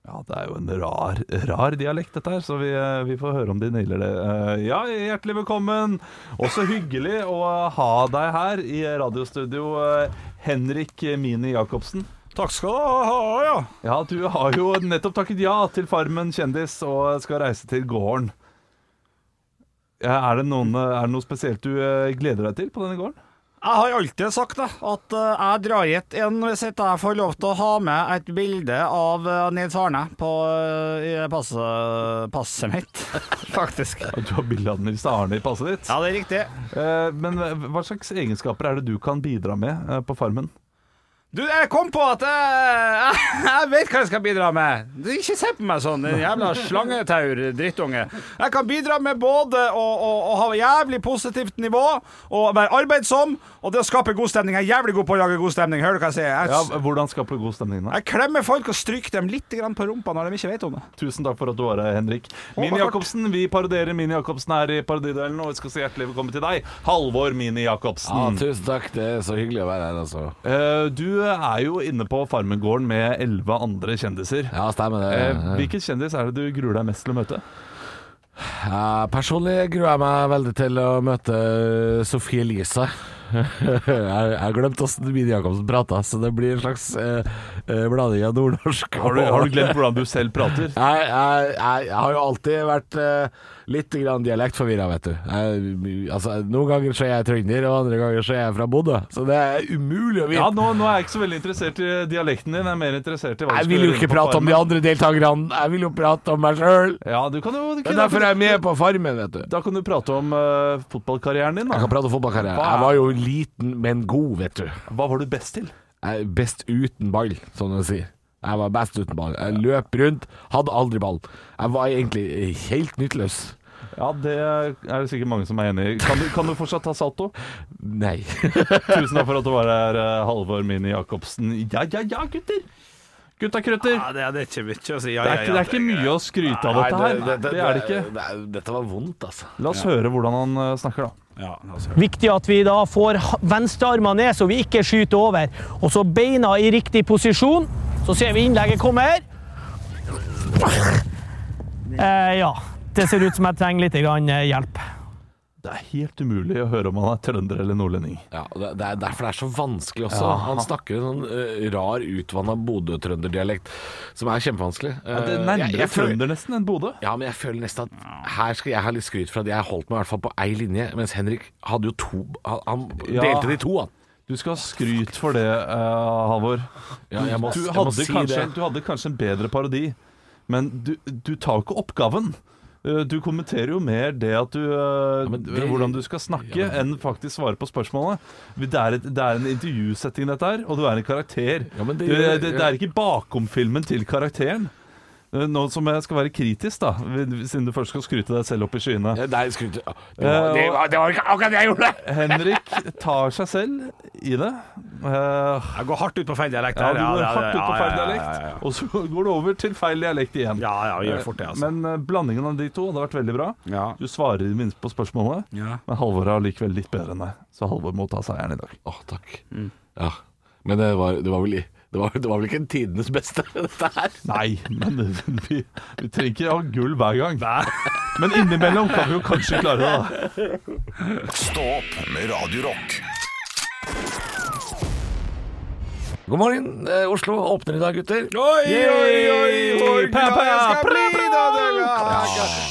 Ja, det er jo en rar, rar dialekt dette her, så vi, eh, vi får høre om de nailer det. Eh, Ja, hjertelig velkommen! Også hyggelig å ha deg her i radiostudio, eh, Henrik Mini Jacobsen.
Takk skal du ha, ja.
Ja, du har jo nettopp takket ja til Farmen kjendis og skal reise til gården. Ja, er, det noen, er det noe spesielt du eh, gleder deg til på denne gården?
Jeg har alltid sagt det, at eh, jeg drar hit en hvis ikke jeg får lov til å ha med et bilde av eh, Nils Arne på, eh, i passet, passet mitt, faktisk.
Ja, Du har bilde av Nils Arne i passet ditt.
Ja, det er riktig.
Eh, Men hva slags egenskaper er det du kan bidra med eh, på Farmen?
Du, jeg kom på at jeg, jeg vet hva jeg skal bidra med. Du, Ikke se på meg sånn, din jævla slangetaur, drittunge. Jeg kan bidra med både å, å, å ha jævlig positivt nivå, og være arbeidsom, og det å skape god stemning. Jeg er jævlig god på å lage god stemning, hører du hva jeg sier?
Ja,
Jeg,
hvordan skaper du god stemning? da?
jeg klemmer folk og stryker dem litt grann på rumpa når de ikke vet om det.
Tusen takk for at du var her, Henrik. Mini Jacobsen, vi parodierer Mini Jacobsen her i parodidelen, og vi skal si hjertelig velkommen til deg, Halvor Mini
Ja,
Jacobsen.
tusen takk. Det er så hyggelig å være her, altså.
Eh, Du er jo inne på Farmen-gården med elleve andre kjendiser.
Ja, stemmer det.
Eh, hvilken kjendis er det du gruer deg mest til å møte?
Ja, personlig gruer jeg meg veldig til å møte eh, Sofie Elise. jeg, jeg glemte hvordan Mini Jacobsen prata, så det blir en slags eh, eh, blanding av nordnorsk
Har du, har du glemt hvordan du selv prater?
Jeg, jeg, jeg, jeg har jo alltid vært eh, litt grann dialektforvirra, vet du. Jeg, altså, noen ganger så er jeg trønder, og andre ganger så er jeg fra Bodø. Så det er umulig å vite.
Ja, nå, nå er jeg ikke så veldig interessert i dialekten din. Jeg er mer interessert i hva du
jeg
skal
vil jo
gjøre
ikke
på
prate om de
farmen.
andre deltakerne, jeg vil jo prate om meg sjøl.
Ja, du kan jo du
Det
kan-
er derfor jeg er med på Farmen, vet du.
Da kan du prate om eh, fotballkarrieren din.
Jeg
Da.
kan prate om fotballkarriere.
Hva er-
Jeg var jo liten, men god, vet du.
Hva var du best til?
Jeg er best uten ball, som de sier. Jeg var best uten ball. Jeg løp rundt, hadde aldri ball. Jeg var egentlig helt nytteløs.
Ja, Det er det sikkert mange som er enig i. Kan, du- kan du fortsatt ta salto?
Nei.
Tusen takk for at du var her, eh, Halvor Mini Jacobsen. Ja, ja, ja, gutter! Gutta krøtter.
det er ikke mye å si.
Det er ikke, det er ikke mye å skryte av dette her. Det er det ikke.
Dette var vondt, altså.
La oss høre hvordan han eh, snakker, da.
Viktig at vi da får ha- venstrearmene ned, så vi ikke skyter over. Og så beina i riktig posisjon. Så ser vi innlegget kommer. Eh, ja. Det ser ut som jeg trenger litt grann eh, hjelp.
Det er helt umulig å høre om han er trønder eller nordlending.
Ja, og det det er derfor det er så vanskelig også. Han snakker en sånn eh, rar, utvanna Bodø-trønderdialekt, som er kjempevanskelig.
Ja, det er
Eh,
nærmere
jeg- jeg føler-
trønder nesten enn Bodø.
Ja, men jeg føler nesten at her skal jeg ha litt skryt for at jeg holdt meg i hvert fall på ei linje, mens Henrik hadde jo to Han, han
Ja.
delte det i to, han.
Du skal ha skryt for det, eh, Halvor.
Ja, jeg må-
du,
jeg må
hadde
si
kanskje,
det.
du hadde kanskje en bedre parodi, men du, du tar jo ikke oppgaven. Eh, Du kommenterer jo mer det at du eh,
men det-
Hvordan du skal snakke, enn faktisk svare på spørsmålet. Det er, et, det er en intervjusetting, dette her, og du er en karakter.
Ja, men det-
Du- eh, det, det, er ikke bakom-filmen til karakteren. Eh, Nå som jeg skal være kritisk, da, siden du først skal skryte deg selv opp i skyene.
Ja, Eh, Nei, skryt det,
Eh,
var- det, var- det var ikke akkurat det jeg gjorde!
Henrik tar seg selv i det. Eh,
Jeg går hardt ut på feil dialekt.
Ja,
her,
du går hardt ut
ja,
på feil
ja, ja,
dialekt,
ja, ja.
og så går du over til feil dialekt igjen.
Ja, ja, gjør fort det, altså.
Men eh, blandingen av de to hadde vært veldig bra.
Ja.
Du svarer i det minste på spørsmålet,
Ja.
men Halvor er likevel litt bedre enn deg. Så Halvor må ta seieren i dag.
Å, takk. Mm. Ja. Men det var, det var vel i- det var, det var vel ikke tidenes beste, dette her?
Nei, men vi, vi trenger ikke ha gull hver gang. Men innimellom kan vi jo kanskje klare det. da.
Stå opp med Radio Rock.
God morgen. Eh, Oslo åpner i dag, gutter.
Oi, oi, oi, oi,
Pappa,
jeg skal bli deg!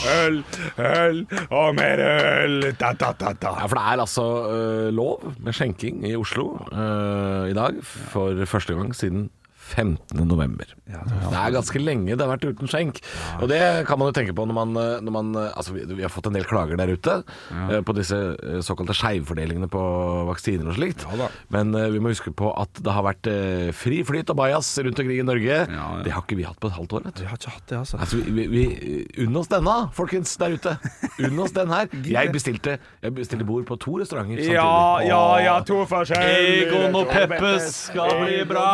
Øl, øl og mer øl. Da, da, da, da.
Ja, for det er altså eh, lov med skjenking i Oslo eh, i dag for første gang siden 15. november. det er ganske lenge det har vært uten skjenk. Og det kan man jo tenke på når man, eh, når man eh, Altså, vi, vi har fått en del klager der ute eh, på disse eh, såkalte skjevfordelingene på vaksiner og slikt.
Ja da.
Men eh, vi må huske på at det har vært eh, fri flyt av bajas rundt omkring i Norge.
ja.
Det har ikke vi hatt på et halvt år, vet du.
Jeg har ikke hatt det, altså.
Altså, vi, vi, vi, unn oss denne, folkens der ute. Unn oss den her. Jeg bestilte, jeg bestilte bord på to restauranter samtidig.
Ja, ja, ja, to forskjellige
Egon og Peppes skal bli bra!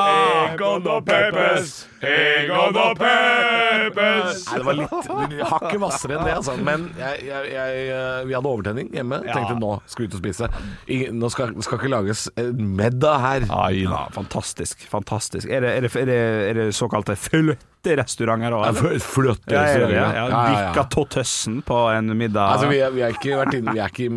Egon og Peppes, Egon og Peppes.
Nei, det var litt hakket hvassere enn det, altså. Men jeg, jeg, jeg, eh, vi hadde overtenning hjemme. Tenkte nå skal vi ut og spise. I, nå skal, skal ikke lages en middag her.
Ai,
Ja, fantastisk. fantastisk Er det, er det, er det, er det såkalte fløterestauranter òg?
Fløtte
Ja, ja, ja,
restauranter.
ja. Dykka tå tøssen på en middag.
Altså, vi, er, vi, er ikke vært inn, vi er ikke i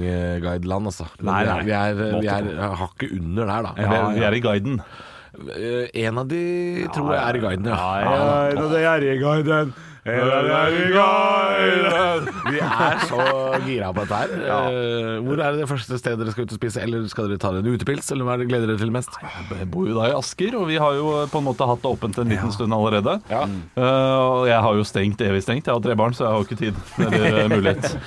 Michelin-guideland, altså. Men
Nei, nei.
Vi er, vi er, vi er eh, hakket under der, da.
Vi er- Vi er i guiden.
Eh, En av de tror jeg er i guiden, ja.
Nei, det er i guiden. Det er i guiden.
Vi er så gira på dette her. Eh, Hvor er det første stedet dere skal ut og spise? Eller skal dere ta dere en utepils, eller hva er det dere gleder dere til mest?
Jeg bor jo da i Asker, og vi har jo eh, på en måte hatt det åpent en liten stund allerede. Eh, og jeg har jo stengt, evig stengt. Jeg har tre barn, så jeg har jo ikke tid eller eh, mulighet.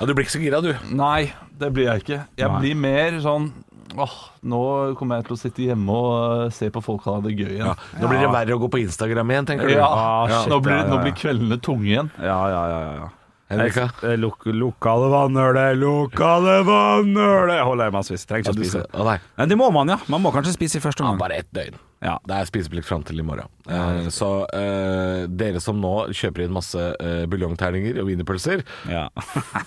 Ja, Du blir ikke så gira, du.
Nei, det blir jeg ikke. Jeg
Nei.
blir mer sånn Åh, nå kommer jeg til å sitte hjemme og eh, se på folk ha det gøy igjen. Ja,
Nå blir det verre å gå på Instagram igjen, tenker du.
Ah, shit,
nå, blir,
ja, ja,
nå
ja.
blir kveldene tunge igjen.
Ja, ja, ja. ja, ja.
Henrika?
Eh, Luk lokale vannøler, lokale vannøler Jeg holder i massevis. Trenger
Ja,
ikke
du
å spise.
skal, å nei.
Men det må man, ja. Man må kanskje spise i første omgang.
Bare ett døgn.
Ja.
Det er spiseplikt fram til i morgen. Eh, så eh, dere som nå kjøper inn masse eh, buljongterninger og wienerpølser,
Ja.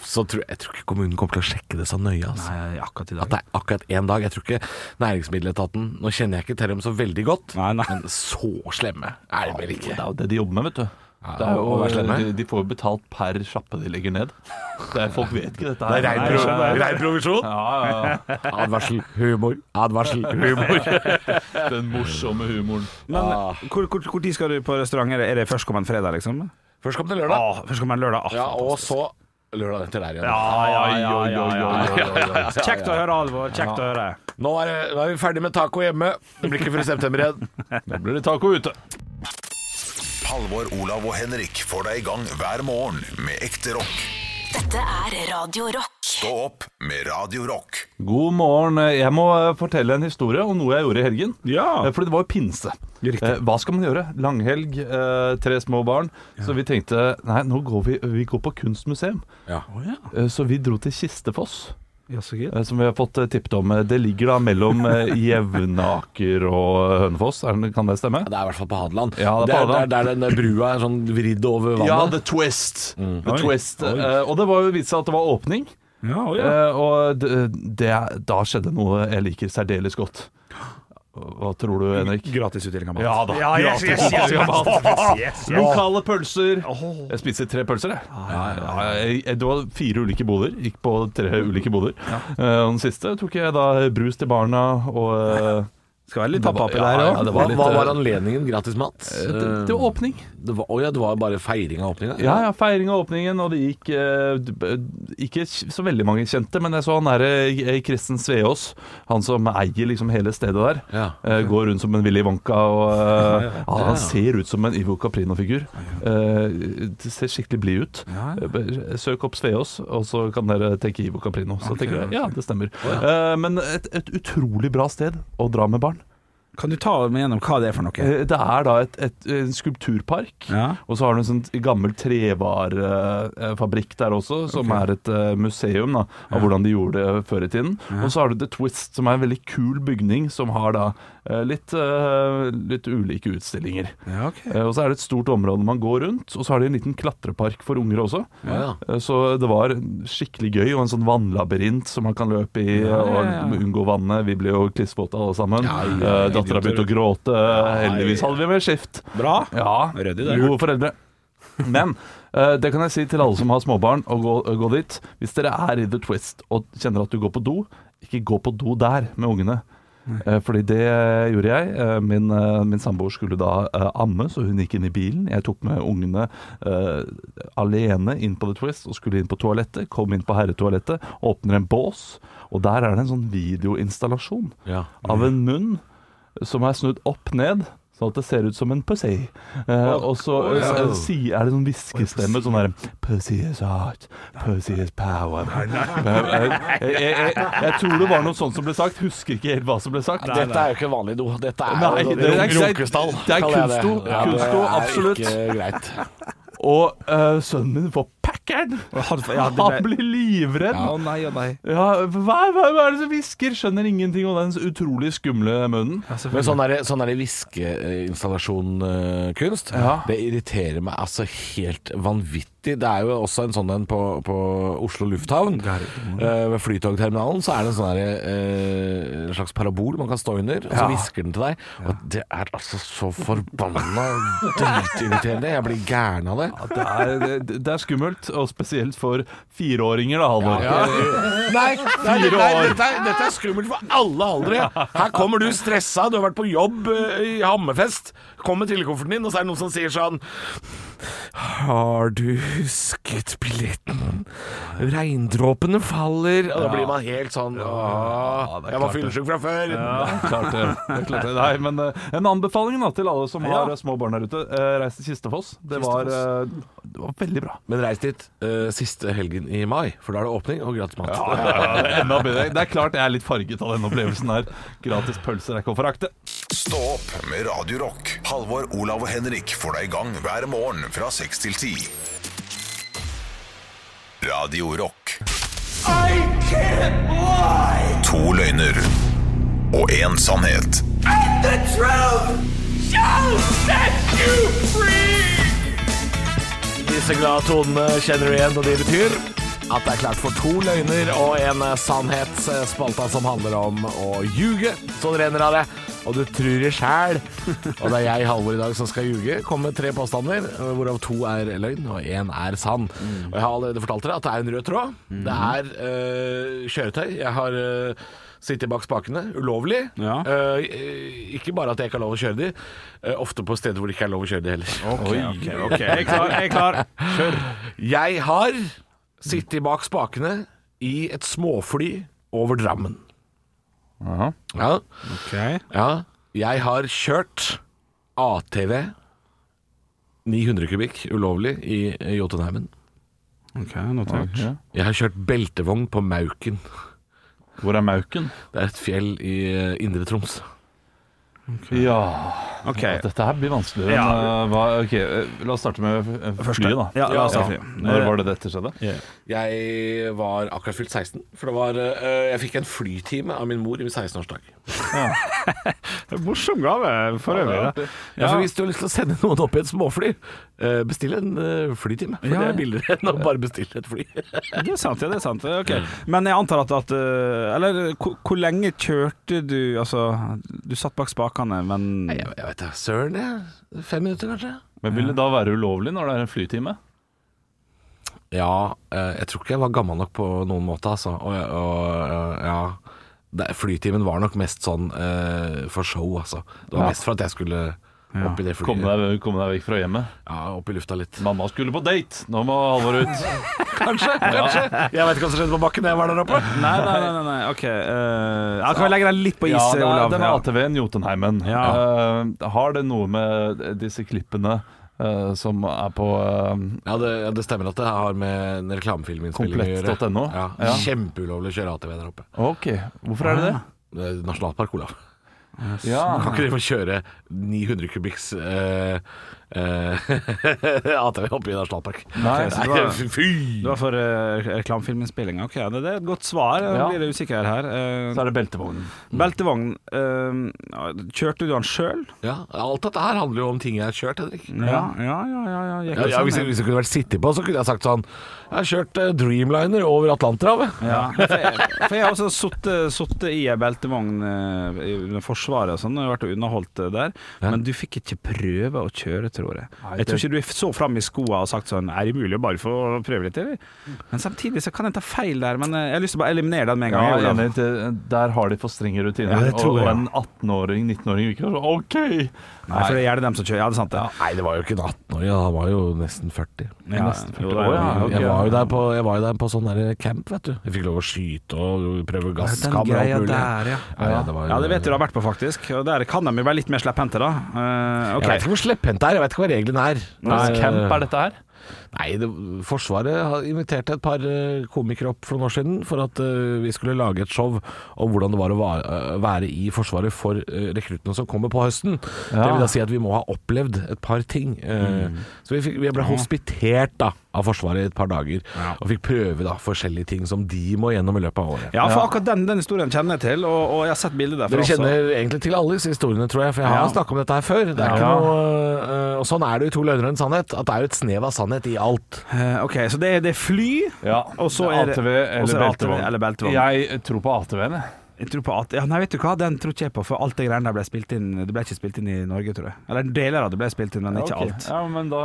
så tror jeg tror ikke kommunen kommer til å sjekke det så nøye. Altså.
Nei, akkurat i
At det er akkurat én dag. Jeg tror ikke Næringsmiddeletaten Nå kjenner jeg ikke til dem så veldig godt,
Nei, nei.
men så slemme er de vel
Det
ikke.
er jo det de jobber med, vet du. Det er
å være
jo,
slemme.
de, de får jo betalt per sjappe de legger ned. Det er, folk vet ikke dette her.
Det er rein
Nei,
pro-
skjønner jeg.
rein provisjon.
Ja, ja, ja.
Advarsel humor. Advarsel humor.
Den morsomme humoren.
Men
Ah.
hvor, hvor, hvor tid skal du på restaurant? Er det, er det førstkommende fredag, liksom?
Førstkommende lørdag.
Ah, førstkommende lørdag. Ah,
Ja, og
fantastisk.
så lørdag etter der igjen.
ja, ja, ja,
Oi, oi,
ja,
oi,
ja,
oi, oi,
ja.
oi, oi.
Kjekt å høre, Alvor. Kjekt å høre.
Nå er, det- nå er vi ferdig med taco hjemme. Det blir ikke før i september igjen.
Nå blir det taco ute.
Halvor, Olav og Henrik får deg i gang hver morgen med ekte rock.
Dette er Radio Rock.
Stå opp med Radio Rock.
God morgen. Jeg må eh, fortelle en historie om noe jeg gjorde i helgen.
Ja.
Eh, Fordi det var jo pinse.
Riktig.
Eh, Hva skal man gjøre? Langhelg, eh, tre små barn. Så vi tenkte nei, nå går vi, vi går på kunstmuseum.
Ja.
Eh, Så vi dro til Kistefoss.
Ja, så gitt.
eh, Som vi har fått eh, tippet om. Eh, Det ligger da mellom eh, Jevnaker og eh, Hønefoss. Er det- Kan det stemme?
Det er i hvert fall på Hadeland.
Ja, det er på Hadeland.
Der, der, den der brua er sånn vridd over vannet.
Ja, The Twist. The
Oi.
twist.
Oi.
Eh, Og det var jo vist seg at det var åpning.
Ja, å, ja.
Eh, og det, det, da skjedde noe jeg liker særdeles godt. Hva tror du, Henrik?
Gratisutdeling av mat.
Ja da.
Ja, yes, yes, yes,
gratis
yes,
mat.
yes, yes, yes.
Lokale pølser. Jeg spiste tre pølser, jeg. Ja, jeg- jeg- Det var fire ulike boder. Gikk på tre ulike boder. Eh, Og den siste tok jeg da brus til barna og eh,
Skal være litt
Det var-
pappapi der
ja,
òg.
ja, det
Hva,
litt,
hva
eh,
var anledningen? Gratis mat?
det, det var åpning.
Det var, å ja, det var bare feiring av åpninga?
Ja, ja, feiring av åpningen, og det gikk eh, d- b- Ikke kj- så veldig mange kjente, men jeg så han derre eh, Kristen Sveås, han som eier liksom hele stedet der.
Ja.
eh, Går rundt som en Willy Wonka og eh, ja, Han ser ut som en Ivo Caprino-figur. Eh, Det ser skikkelig blid ut. Eh, b- Søk opp Sveås, og så kan dere tenke Ivo Caprino. Så tenker jeg, ja, det stemmer. Eh, Men et, et utrolig bra sted å dra med barn.
Kan du ta meg gjennom hva det er for noe?
Eh, Det er da et, et, en skulpturpark.
Ja.
Og så har du en sånn gammel trevarefabrikk eh, der også, som er et eh, museum da, av hvordan de gjorde det før i tiden. Og så har du The Twist, som er en veldig kul bygning, som har da eh, litt, eh, litt ulike utstillinger.
Ja, ok.
Eh, Og så er det et stort område man går rundt, og så har de en liten klatrepark for unger også.
Ja.
Eh, Så det var skikkelig gøy, og en sånn vannlabyrint som man kan løpe i og unngå vannet. Vi ble jo klissvåte alle sammen. Ja, Dattera begynte å gråte. Heldigvis hadde vi med skift.
Bra.
Ja,
Ryddig der.
gode foreldre. Men eh, det kan jeg si til alle som har småbarn, å gå, å gå dit. Hvis dere er i The Twist og kjenner at du går på do, ikke gå på do der med ungene. Eh, Fordi det gjorde jeg. Eh, Min, eh, min samboer skulle da eh, amme, så hun gikk inn i bilen. Jeg tok med ungene eh, alene inn på The Twist og skulle inn på toalettet. Kom inn på herretoalettet, åpner en bås, og der er det en sånn videoinstallasjon
Ja.
av en munn som er snudd opp ned, sånn at det ser ut som en pussy. Eh, og så eh, s- si- er det sånn hviskestemme, sånn der Pussy is art, pussy is power. Eh, Jeg, jeg, jeg, jeg tror det var noe sånt som ble sagt, husker ikke helt hva som ble sagt.
Dette er jo ikke vanlig do. Dette er
Nei,
jo
det er ikke-
runkestall,
det er
kaller jeg det.
kunstdo,
Ja, det
kunstdo,
er
absolutt.
Ikke greit.
Og eh, sønnen min får packeren!
Han, ja, det
Han
ble...
blir livredd.
Å nei, å nei.
Ja, hva, hva, hva er det som hvisker? Skjønner ingenting om den utrolig skumle munnen.
Men sånn er det, sånn er det hviskeinstallasjonkunst.
Ja.
Det irriterer meg altså helt vanvittig. Det er jo også en sånn en på, på Oslo lufthavn. Eh, ved flytogterminalen så er det en sånn der, eh, en slags parabol man kan stå under, og så hvisker den til deg. Og det er altså så forbanna dritirriterende. Jeg blir gæren av det.
Ja, Det er, det, det er skummelt, og spesielt for fireåringer, da, Halvor.
Nei, nei,
Fire
nei
år.
dette, er, dette er skummelt for alle aldre. Her kommer du stressa, du har vært på jobb eh, i Hammerfest. Kom med trillekofferten din, og så er det noen som sier sånn Har du husket billetten? Regndråpene faller. Og da blir man helt sånn Åh,
det er
Jeg var
klart det.
fyllesyk fra før.
Klart det. det, er klart det. Nei, men eh, en anbefaling da, til alle som har eh, små barn der ute. eh, Reis til Kistefoss. Det var, eh, det var veldig bra.
Men reis dit eh, siste helgen i mai, for da er det åpning og gratis mat.
Enda bedre. Det er klart jeg er litt farget av denne opplevelsen her. Gratis pølser er ikke å forakte.
Stå opp med Radio Rock. Halvor, Olav og Henrik får deg i gang hver morgen fra 6 til 10. Radio Rock. To løgner og én sannhet.
Disse glade tonene kjenner du igjen, og de betyr at det er klart for to løgner og en sannhet, spalta som handler om å ljuge. Så det renner av det, og du tror det sjæl. Og det er jeg, Halvor, i dag som skal ljuge. Kom med tre påstander, eh, hvorav to er løgn og én er sann. Og jeg har allerede fortalt dere at det er en rød tråd. Det er øh, kjøretøy. Jeg har øh, sittet bak spakene ulovlig.
Ja.
Øh, øh, ikke bare at jeg ikke har lov å kjøre de, øh, ofte på steder hvor det ikke er lov å kjøre de heller.
Ok, ok, ok. Jeg er klar. Jeg er klar.
Jeg har sittet bak spakene i et småfly over Drammen. Ja,
Ok.
ja. Jeg har kjørt ATV 900 kubikk ulovlig i i Jotunheimen.
Ok, notert.
Jeg har kjørt beltevogn på Mauken.
Hvor er Mauken?
Det er et fjell i eh, Indre Troms.
Ja
Ok.
Dette her blir vanskeligere. enn,
Ja.
eh, hva, ok, eh, La oss starte med eh, flyet, da.
Ja, la oss ta
Ja.
fly.
Når var det dette skjedde?
Jeg var akkurat fylt 16, for det var eh, Jeg fikk en flytime av min mor i min 16-årsdag.
Morsom gave for øvrig. da.
Ja, for hvis du har lyst til å sende noen opp i et småfly, eh, bestill en eh, flytime. For
Ja.
det er billigere enn å bare bestille et fly.
Det er sant, ja, det er sant. Ok. Men jeg antar at, at eh, Eller hvor, hvor lenge kjørte du Altså, du satt bak spakene, men
Jeg, jeg vet da, søren jeg. Fem minutter kanskje?
Men Vil det da være ulovlig når det er en flytime?
Ja, eh, jeg tror ikke jeg var gammel nok på noen måte, altså. Og, jeg- og eh, ja. Det, flytimen var nok mest sånn eh, for show, altså. Det var mest for at jeg skulle opp i det flyet.
Komme deg, komme deg vekk fra hjemmet.
Ja, opp i lufta litt.
Mamma skulle på date! Nå må Halvor ut.
Kanskje, kanskje. Jeg vet ikke hva som skjedde på bakken da jeg var der oppe.
Nei, nei, nei. nei, nei. OK. eh, ja, kan vi legge deg litt på is,
Ja, det er,
Olav?
den
Ja.
ATV-en Jotunheimen. Eh, har det noe med disse klippene eh, som er på eh,
Ja, det, ja, det stemmer at det har med en reklamefilminnspilling å gjøre.
Komplett.no?
Ja,
Ja.
Kjempeulovlig å kjøre ATV der oppe.
OK, hvorfor er det det?
Det er Nasjonalpark, Olav.
Ah. Ja,
Kan ikke de få kjøre 900 kubikks eh, eh, ATV oppe i nasjonalpark?
Nei,
så det
Nei,
var-
fy!
Det var for eh, reklamefilminnspillinga. Ok, det, det er et godt svar. Jeg
Ja.
blir litt usikker her. Eh,
Så er det beltevognen.
Beltevogn. eh, ja, kjørte du den sjøl?
Ja, alt dette her handler jo om ting jeg har kjørt, Henrik.
Ja, ja, ja. ja, ja, gikk
Ja,
det
ja,
sånn,
hvis, jeg, hvis jeg kunne vært sittet på, så kunne jeg sagt sånn Jeg har kjørt eh, Dreamliner over Atlanterhavet.
Ja, for jeg, for jeg har også sittet- sittet i ei beltevogn eh, i- under Forsvaret og sånn, og vært og underholdt eh, der, men du fikk ikke prøve å kjøre, tror jeg. Jeg tror ikke du er så fram i skoa og sagt sånn Er det mulig å bare få prøve litt, eller? Men samtidig så kan jeg ta feil der, men eh, jeg har lyst til å bare eliminere den med en
Ja,
gang.
jeg er
Olav.
enig, det- der har de for strenge rutiner.
Ja, det tror
og,
jeg.
og en 18-åring, 19-åring vil ikke være så OK!
Nei, for det er gjerne dem som kjører. Ja, det er sant, det.
Nei, det var jo ikke en 18-åring, han var jo nesten 40.
Ja, jo, det er
Å,
jo-
ja, ok.
Jeg var jo der på, jeg var jo der på sånn der camp, vet du. Jeg fikk lov å skyte og prøve
Den
gasskamera og
greia
alt mulig.
der, ja.
Ja, ja, det var jo-
Ja, det vet du det har vært på, faktisk. Og der kan de jo være litt mer slepphendte, da. Eh, ok.
Jeg vet ikke hvor slepphendt det er, jeg vet ikke hva reglene er.
Hvilken camp er dette her?
Nei, det, Forsvaret har invitert et par eh, komikere opp for noen år siden for at eh, vi skulle lage et show om hvordan det var å va- eh, være i Forsvaret for eh, rekruttene som kommer på høsten. Det vil da si at vi må ha opplevd et par ting. eh,
Mm.
Så vi, fikk, vi ble hospitert da av Forsvaret i et par dager, og fikk prøve da forskjellige ting som de må gjennom i løpet av året.
Ja, for akkurat den, den historien kjenner jeg til, og, og jeg har sett bilder derfra
Dere
også.
kjenner egentlig til alle disse historiene, tror jeg, for jeg har
Ja.
snakket om dette her før. Det er ikke
Ja.
noe, eh, og sånn er det jo i To løgner og en sannhet, at det er jo et snev av sannhet i alt.
Eh, ok, så det er, det er fly,
Ja,
og så er det
ATV
og så er
eller
det
beltevogn.
ATV eller beltevogn.
Jeg tror på ATV-en, jeg.
Jeg tror på at, ja, nei, vet du hva, den tror ikke jeg på, for alt det greiene der ble spilt inn Det ble ikke spilt inn i Norge, tror jeg. Eller deler av det ble spilt inn, men ikke
Ok.
alt.
Ja, men da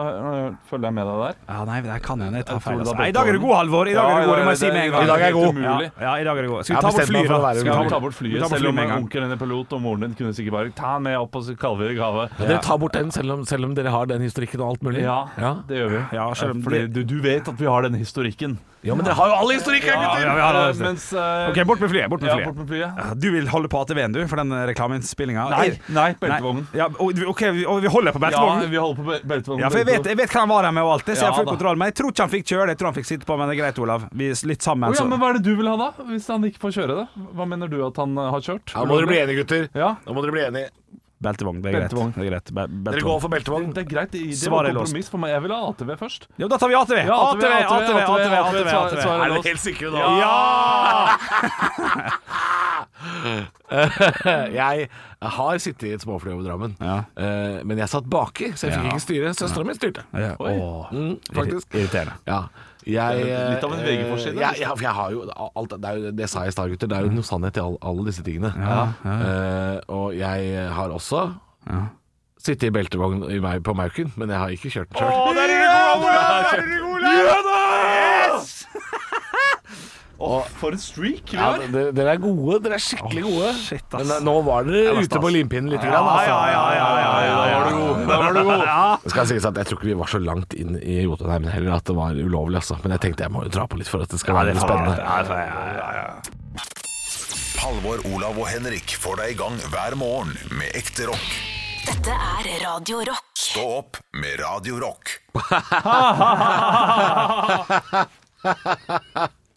øh, følger jeg med deg der.
Ja, nei, det kan hende jeg tar
Jeg
feil.
tror
Altså.
det er
Nei, I dag er du god, Halvor! I dag
Ja,
er du god, det må jeg
i
si
dag-
med en
i
gang.
dag er jeg god.
Ja, ja, i dag er jeg god. Skal
Jeg
vi ta
bestemte
bort
meg for
flyet,
å
da?
være
Skal
Vi
vi
tar bort flyet,
vi tar bort
selv om
med en gang.
onkelen din er pilot og moren din kunne sikkert bare ta han med opp, og så kaller vi det gave.
Dere tar bort den, selv om, selv om dere har den historikken og alt mulig?
Ja, det gjør vi. Eh,
Ja, selv om det-
Fordi du, du vet at vi har den historikken.
Ja, men dere har jo all historikk!
Ja, ja, vi har det.
Eh, Mens eh,
Ok, bort med flyet. Bort med
ja,
flyet.
bort med flyet.
Du vil holde på ATV-en, du, for den eh, reklameinnspillinga?
Nei, nei,
beltevognen.
beltevognen.
Ja, og, ok, vi- og vi holder på
Ja,
beltevognen?
vi holder på bel- beltevognen.
Ja, for jeg vet, jeg vet hva han var her med og alt det, så jeg har
Ja,
full
da.
kontroll. Men jeg tror ikke han fikk kjøre det, jeg tror han fikk sitte på, men det er greit, Olav. Vi er litt sammen,
Å ja,
så.
men Hva er det du vil ha, da? Hvis han ikke får kjøre det? Hva mener du at han eh, har kjørt?
Nå må dere bli enige, gutter.
Ja.
Nå må dere bli enige.
Beltevogn, det er greit.
Beltevogn.
Det er greit. Be
Dere
beltevogn.
går for beltevogn.
Det er greit, det det
Svaret
var
er låst.
kompromiss for meg. Jeg vil ha ATV først.
Ja, da tar vi ATV!
Ja,
ATV, ATV, ATV, ATV,
svar-
ATV.
svaret er låst.
helt sikre
Ja!
Jeg har sittet i et småfly over Drammen,
Ja.
Eh, men jeg satt baki, så jeg fikk
Ja.
ikke styre. Søstera mi styrte.
Ja, åh,
Mm, faktisk.
Irriterende.
Ja. Jeg, eh,
Litt av en VG-forside,
eh, Ja, ja, for jeg har jo alt, det, er jo, det sa jeg i stad, gutter. Det er jo noe sannhet i alle, alle disse tingene. Eh, og jeg har også sittet i beltevogn i meg, på Mauken, men jeg har ikke kjørt den sjøl.
For en streak vi
Ja,
har!
dere, dere er gode. Dere er skikkelig gode.
shit, ass.
Men eh, nå var dere
var
ute
stas.
på limpinnen litt. grann, altså.
Da var du god.
Det skal sies at Jeg tror ikke vi var så langt inn i Jotunheimen heller at det var ulovlig. Altså. Men jeg tenkte jeg må jo dra på litt for at det skal være litt spennende.
Halvor, Olav og Henrik får deg i gang hver morgen med ekte rock.
Dette er Radio Rock.
Stå opp med Radio Rock.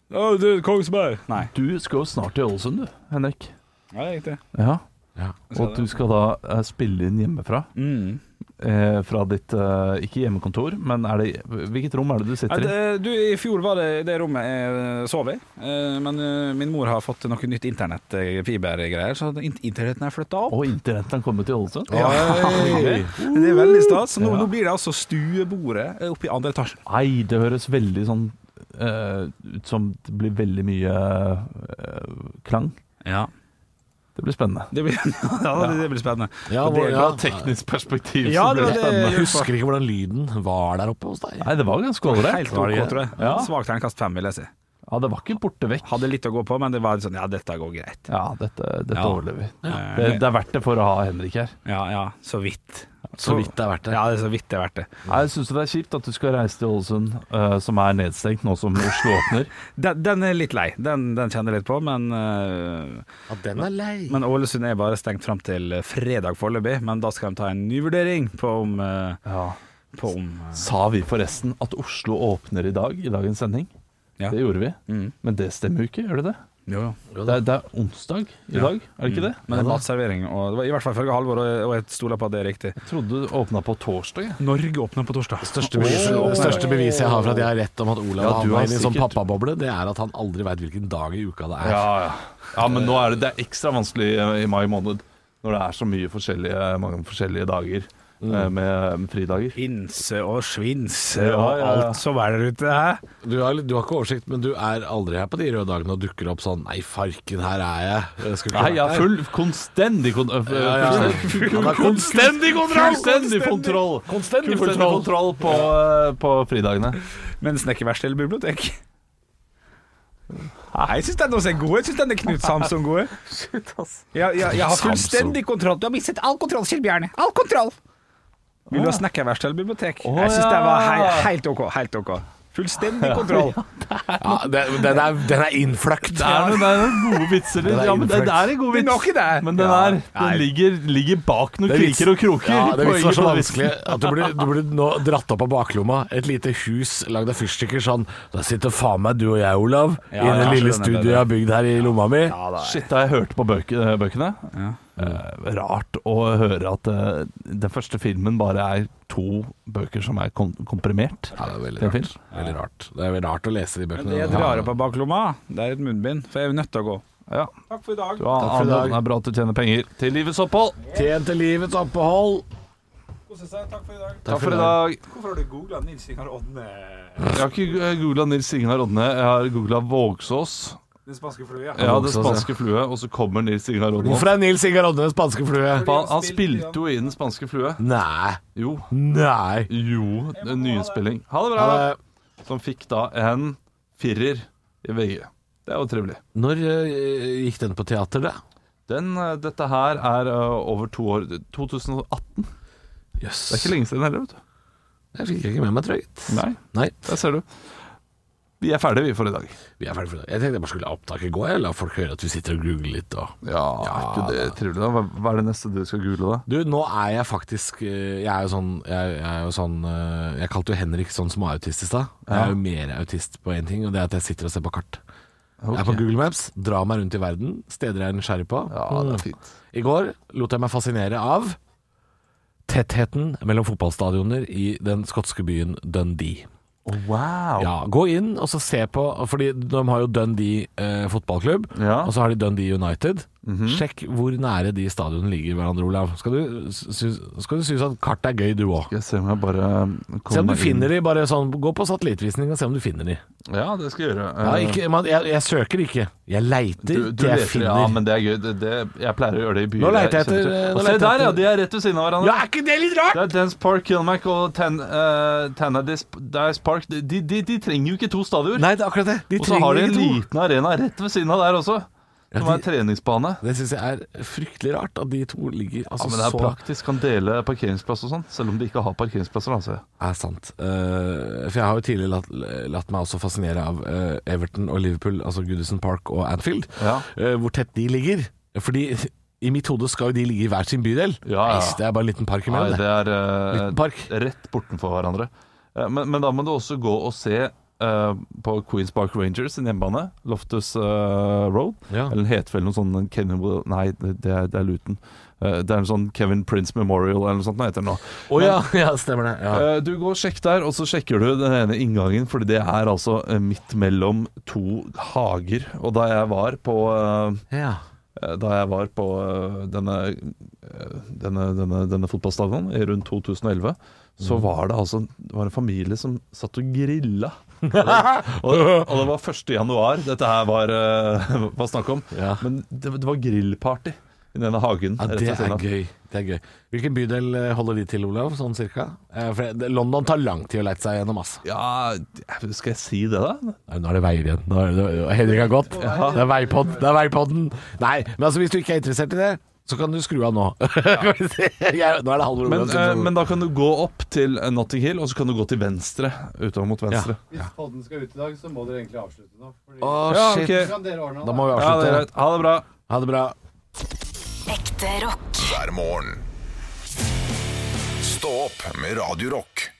Å, du, Kongsberg. Nei.
Du skal jo snart til Ålesund, du, Henrik.
Ja, det er riktig.
Ja. Og at du skal da eh, spille inn hjemmefra. Eh, fra ditt eh, Ikke hjemmekontor, men er det, hvilket rom er det du
Nei,
sitter i?
det, du, I fjor var det det rommet jeg sov i, eh, men eh, min mor har fått noe nytt internett, eh, fibergreier, så in- internetten er flytta opp.
Og internett har kommet til Ålesund?
Oi. Det er veldig stas. Så Nå, nå blir det altså stuebordet eh, oppe i andre etasje.
Nei, det høres veldig sånn eh, ut som det blir veldig mye eh, klang.
Ja.
Det blir spennende.
Det blir, ja, det, det blir spennende.
Ja,
Og det
hvor-
er
ja.
klart-
teknisk perspektiv
Ja, det var det
spennende.
jeg
Jeg
husker.
husker ikke hvordan lyden var der oppe hos deg.
Nei, det var ganske ålreit.
Helt ok, tror jeg.
Ja.
Svakt terningkast fem, vil jeg si.
Ja, det var ikke borte vekk.
Hadde litt å gå på, men det var sånn Ja, dette går greit.
Ja, dette, dette
Ja.
overlever vi.
Ja.
Det, det er verdt det for å ha Henrik her.
Ja, ja, så vidt.
Så vidt det er verdt det.
Ja, det er så vidt det er verdt det.
Nei, Jeg syns det er kjipt at du skal reise til Ålesund, eh, som er nedstengt nå som Oslo åpner.
Den, den er litt lei. Den, den kjenner jeg litt på, men øh,
Ja, den er lei.
Men Ålesund er bare stengt fram til eh, fredag foreløpig, men da skal de ta en ny vurdering på om, eh, på om eh,
Sa vi forresten at Oslo åpner i dag, i dagens sending?
Ja.
Det gjorde vi.
Mm.
Men det stemmer jo ikke, gjør det det?
Jo, jo.
Det er, det er onsdag i dag, er det ikke det?
Men det er matservering, og det var i hvert fall ifølge Halvor, og og jeg stoler på at det er riktig.
Jeg trodde du åpna på torsdag. jeg.
Norge åpner på torsdag.
Største beviset, største beviset jeg har for at jeg har rett om at Olav
Ja,
ja,
du har
havna inn i en sånn
sikkert-
pappaboble, det er at han aldri veit hvilken dag i uka det er.
ja. ja men nå er det, det er ekstra vanskelig eh, i mai måned, når det er så mye forskjellige, mange forskjellige dager
Mm.
eh, med med fridager.
Pinse og svinse
Ja,
og
ja, ja.
alt som er der ute. Hæ?
Du, har, du har ikke oversikt, men du er aldri her på de røde dagene og dukker opp sånn Nei, farken, her er jeg. jeg skulle ikke
Nei,
vært
ja,
her».
full, konstendig kon... øh,
ja, ja. Han er
Konstendig kontroll! Konstendig kontroll! Konstendig kontroll på, øh, på fridagene.
Mens den er ikke verst eller bibliotek. Nei, jeg syns den også er god. Jeg syns den er Knut Samson god. Jeg, jeg, jeg har fullstendig kontroll. Du har mistet all kontroll, Kjell Bjarne. All kontroll! Vil
Ah.
du ha snekkerverksted eller bibliotek?
Å,
Jeg syns det var hei,
ja.
helt OK. Helt OK. Fullstendig kontroll.
Ja, den, den, er, den er innfløkt.
Det er, noen- det er noen gode vitser.
Den er
Ja, men det, det er en god
Det er
vits.
nok i det.
Men den, er, den ligger, ligger bak noen
Det er vits-
kriker og kroker.
Ja, det
Poenget
vitsen var så
på den vitsen.
vanskelig at du blir, du blir nå dratt opp av baklomma. Et lite hus lagd av fyrstikker sånn Der sitter faen meg du og jeg, Olav,
Ja,
i det
ja,
lille
skjønner det,
studioet
det.
jeg har bygd her i lomma mi.
Shit, da jeg hørte på bøk, øh, bøkene Eh, Rart å høre at øh, den første filmen bare er to bøker som er kom komprimert.
Ja, det er
Det
veldig
er fint.
rart. Veldig rart. Det er veldig rart å lese de
Men det
bøkene.
jeg drar opp av baklomma, det er et munnbind, for jeg er nødt til å gå.
Ja.
Takk for i dag.
Du har
for i dag.
Det er bra at du tjener penger til livets opphold.
Tjent til livets opphold.
Kose seg. Takk for i dag.
Takk for i dag.
Hvorfor har du googla Nils Ingar Odne,
Jeg har ikke googla Nils Ingar Odne, jeg har googla Vågsås.
den spanske flua?
Ja, det
Vågsås, ja.
spanske flue, og så kommer Nils Ingar Odne.
Hvorfor er Nils Ingar Odne en spanske flue?
Han, han spilte jo i Den spanske flue.
Nei.
Jo.
Nei.
Jo, en nyspilling. Ha det bra,
Ja,
da.
det-
Som fikk da en firer i VG. Det er jo trivelig.
Når eh, gikk den på teater, da?
Den, eh, dette her er eh, over to år 2018.
Jøss.
Det er ikke lenge siden heller, vet du.
Jeg fikk ikke med meg, tror jeg.
Nei,
Nei.
der ser du. Vi er ferdige, vi, for i dag.
Vi er ferdig for i dag. Jeg tenkte jeg bare skulle ha opptak i går. Jeg la folk høre at vi sitter og googler litt. Og.
Ja, er ikke det trivelig, da? Hva- Hva er det neste du skal google, da?
Du, nå er jeg faktisk eh, Jeg er jo sånn Jeg, jeg er jo sånn eh, Jeg kalte jo Henrik sånn som autist i stad. Jeg er jo mer autist på én ting, og det er at jeg sitter og ser på kart. Jeg er på Google Maps, drar meg rundt i verden, steder jeg er nysgjerrig på. Mm.
Ja, det er fint.
I går lot jeg meg fascinere av tettheten mellom fotballstadioner i den skotske byen Dundee.
Wow.
Ja, Gå inn og så se på Fordi de har jo Dundee eh, fotballklubb,
Ja.
og så har de Dundee United. Sjekk hvor nære de stadionene ligger hverandre, Olav. Skal du, synes, skal du synes at kart er gøy, du òg?
Skal jeg se om jeg bare eh,
Se om du finner de, bare sånn Gå på satellittvisning og se om du finner de.
Ja, det skal jeg gjøre. Eh,
Ja, ikke, man, jeg, jeg søker ikke. Jeg leiter
du, du
til jeg
leter,
finner.
Ja, men det er gøy. Det, det, jeg pleier å gjøre det i byer.
Nå leter jeg etter-
kjenner til.
nå
Og Se
leter jeg
der, ja!
etter-
De er rett ved siden av hverandre.
ja, er ikke det litt rart?
Det er Dance Park, Kilmac og Tan, eh, Tannadice Dice Park. De, de, de trenger jo ikke to stadioner.
Nei, det er akkurat det. De
og så har de
trenger
en
to.
liten arena rett ved siden av der også,
Ja,
som er
de-
treningsbane.
Det syns jeg er fryktelig rart, at de to ligger altså,
Ja, men det er
så
praktisk. Kan dele parkeringsplass og sånn, selv om de ikke har parkeringsplasser. Altså.
er sant. Eh, for jeg har jo tidligere latt, latt meg også fascinere av eh, Everton og Liverpool, altså Goodison Park og Anfield,
Ja.
eh, hvor tett de ligger. Fordi i mitt hode skal jo de ligge i hver sin bydel.
Ja, ja.
Nei, Det er bare en liten park
Nei,
imellom,
det
det.
er eh,
Liten park.
rett bortenfor hverandre. Eh, Men, men da må du også gå og se eh, på Queens Park Rangers sin hjemmebane, Loftus eh, Road.
Ja.
Eller den heter vel noe sånn en Kevin Nei, det, det er, det er Luton. Eh, det er en sånn Kevin Prince Memorial eller noe sånt. Nei, heter det nå.
Å ja, ja, stemmer det. Ja.
Eh, Du går og sjekk der, og så sjekker du den ene inngangen, fordi det er altså eh, midt mellom to hager. Og da jeg var på eh,
Ja.
eh, Da jeg var på eh, denne, eh, denne, denne, denne fotballstadion i rundt 2011,
Mm.
så var det altså det var en familie som satt og grilla. Og det, og det var 1. januar dette her var, eh, var snakk om.
Ja.
Men det, det var grillparty i denne hagen.
Ja, det
rett ved
er
siden av.
gøy. Det er gøy. Hvilken bydel eh, holder de til, Olav? Sånn cirka? Eh, For det- London tar lang tid å leite seg gjennom, altså. ass.
Ja, skal jeg si det, da?
Nei, nå er det veier igjen. Nå er det, Henrik har gått. Det er veipod. Det er veipodden. Nei, men altså hvis du ikke er interessert i det, så kan du skru av nå. Jeg- nå er det halv
Men,
Olav sin
eh,
tur.
men da kan du gå opp til eh, Notting Hill, og så kan du gå til venstre. Utover mot venstre.
Hvis podden skal ut i dag, så må dere egentlig avslutte nå. Fordi
Å,
Ja,
shit.
ok.
kan dere ordne
Da
det?
må vi
Ja, det er
avslutte.
greit. Ha det bra.
Ha det bra.
Ekte rock.
hver morgen. Stå opp med Radio Rock.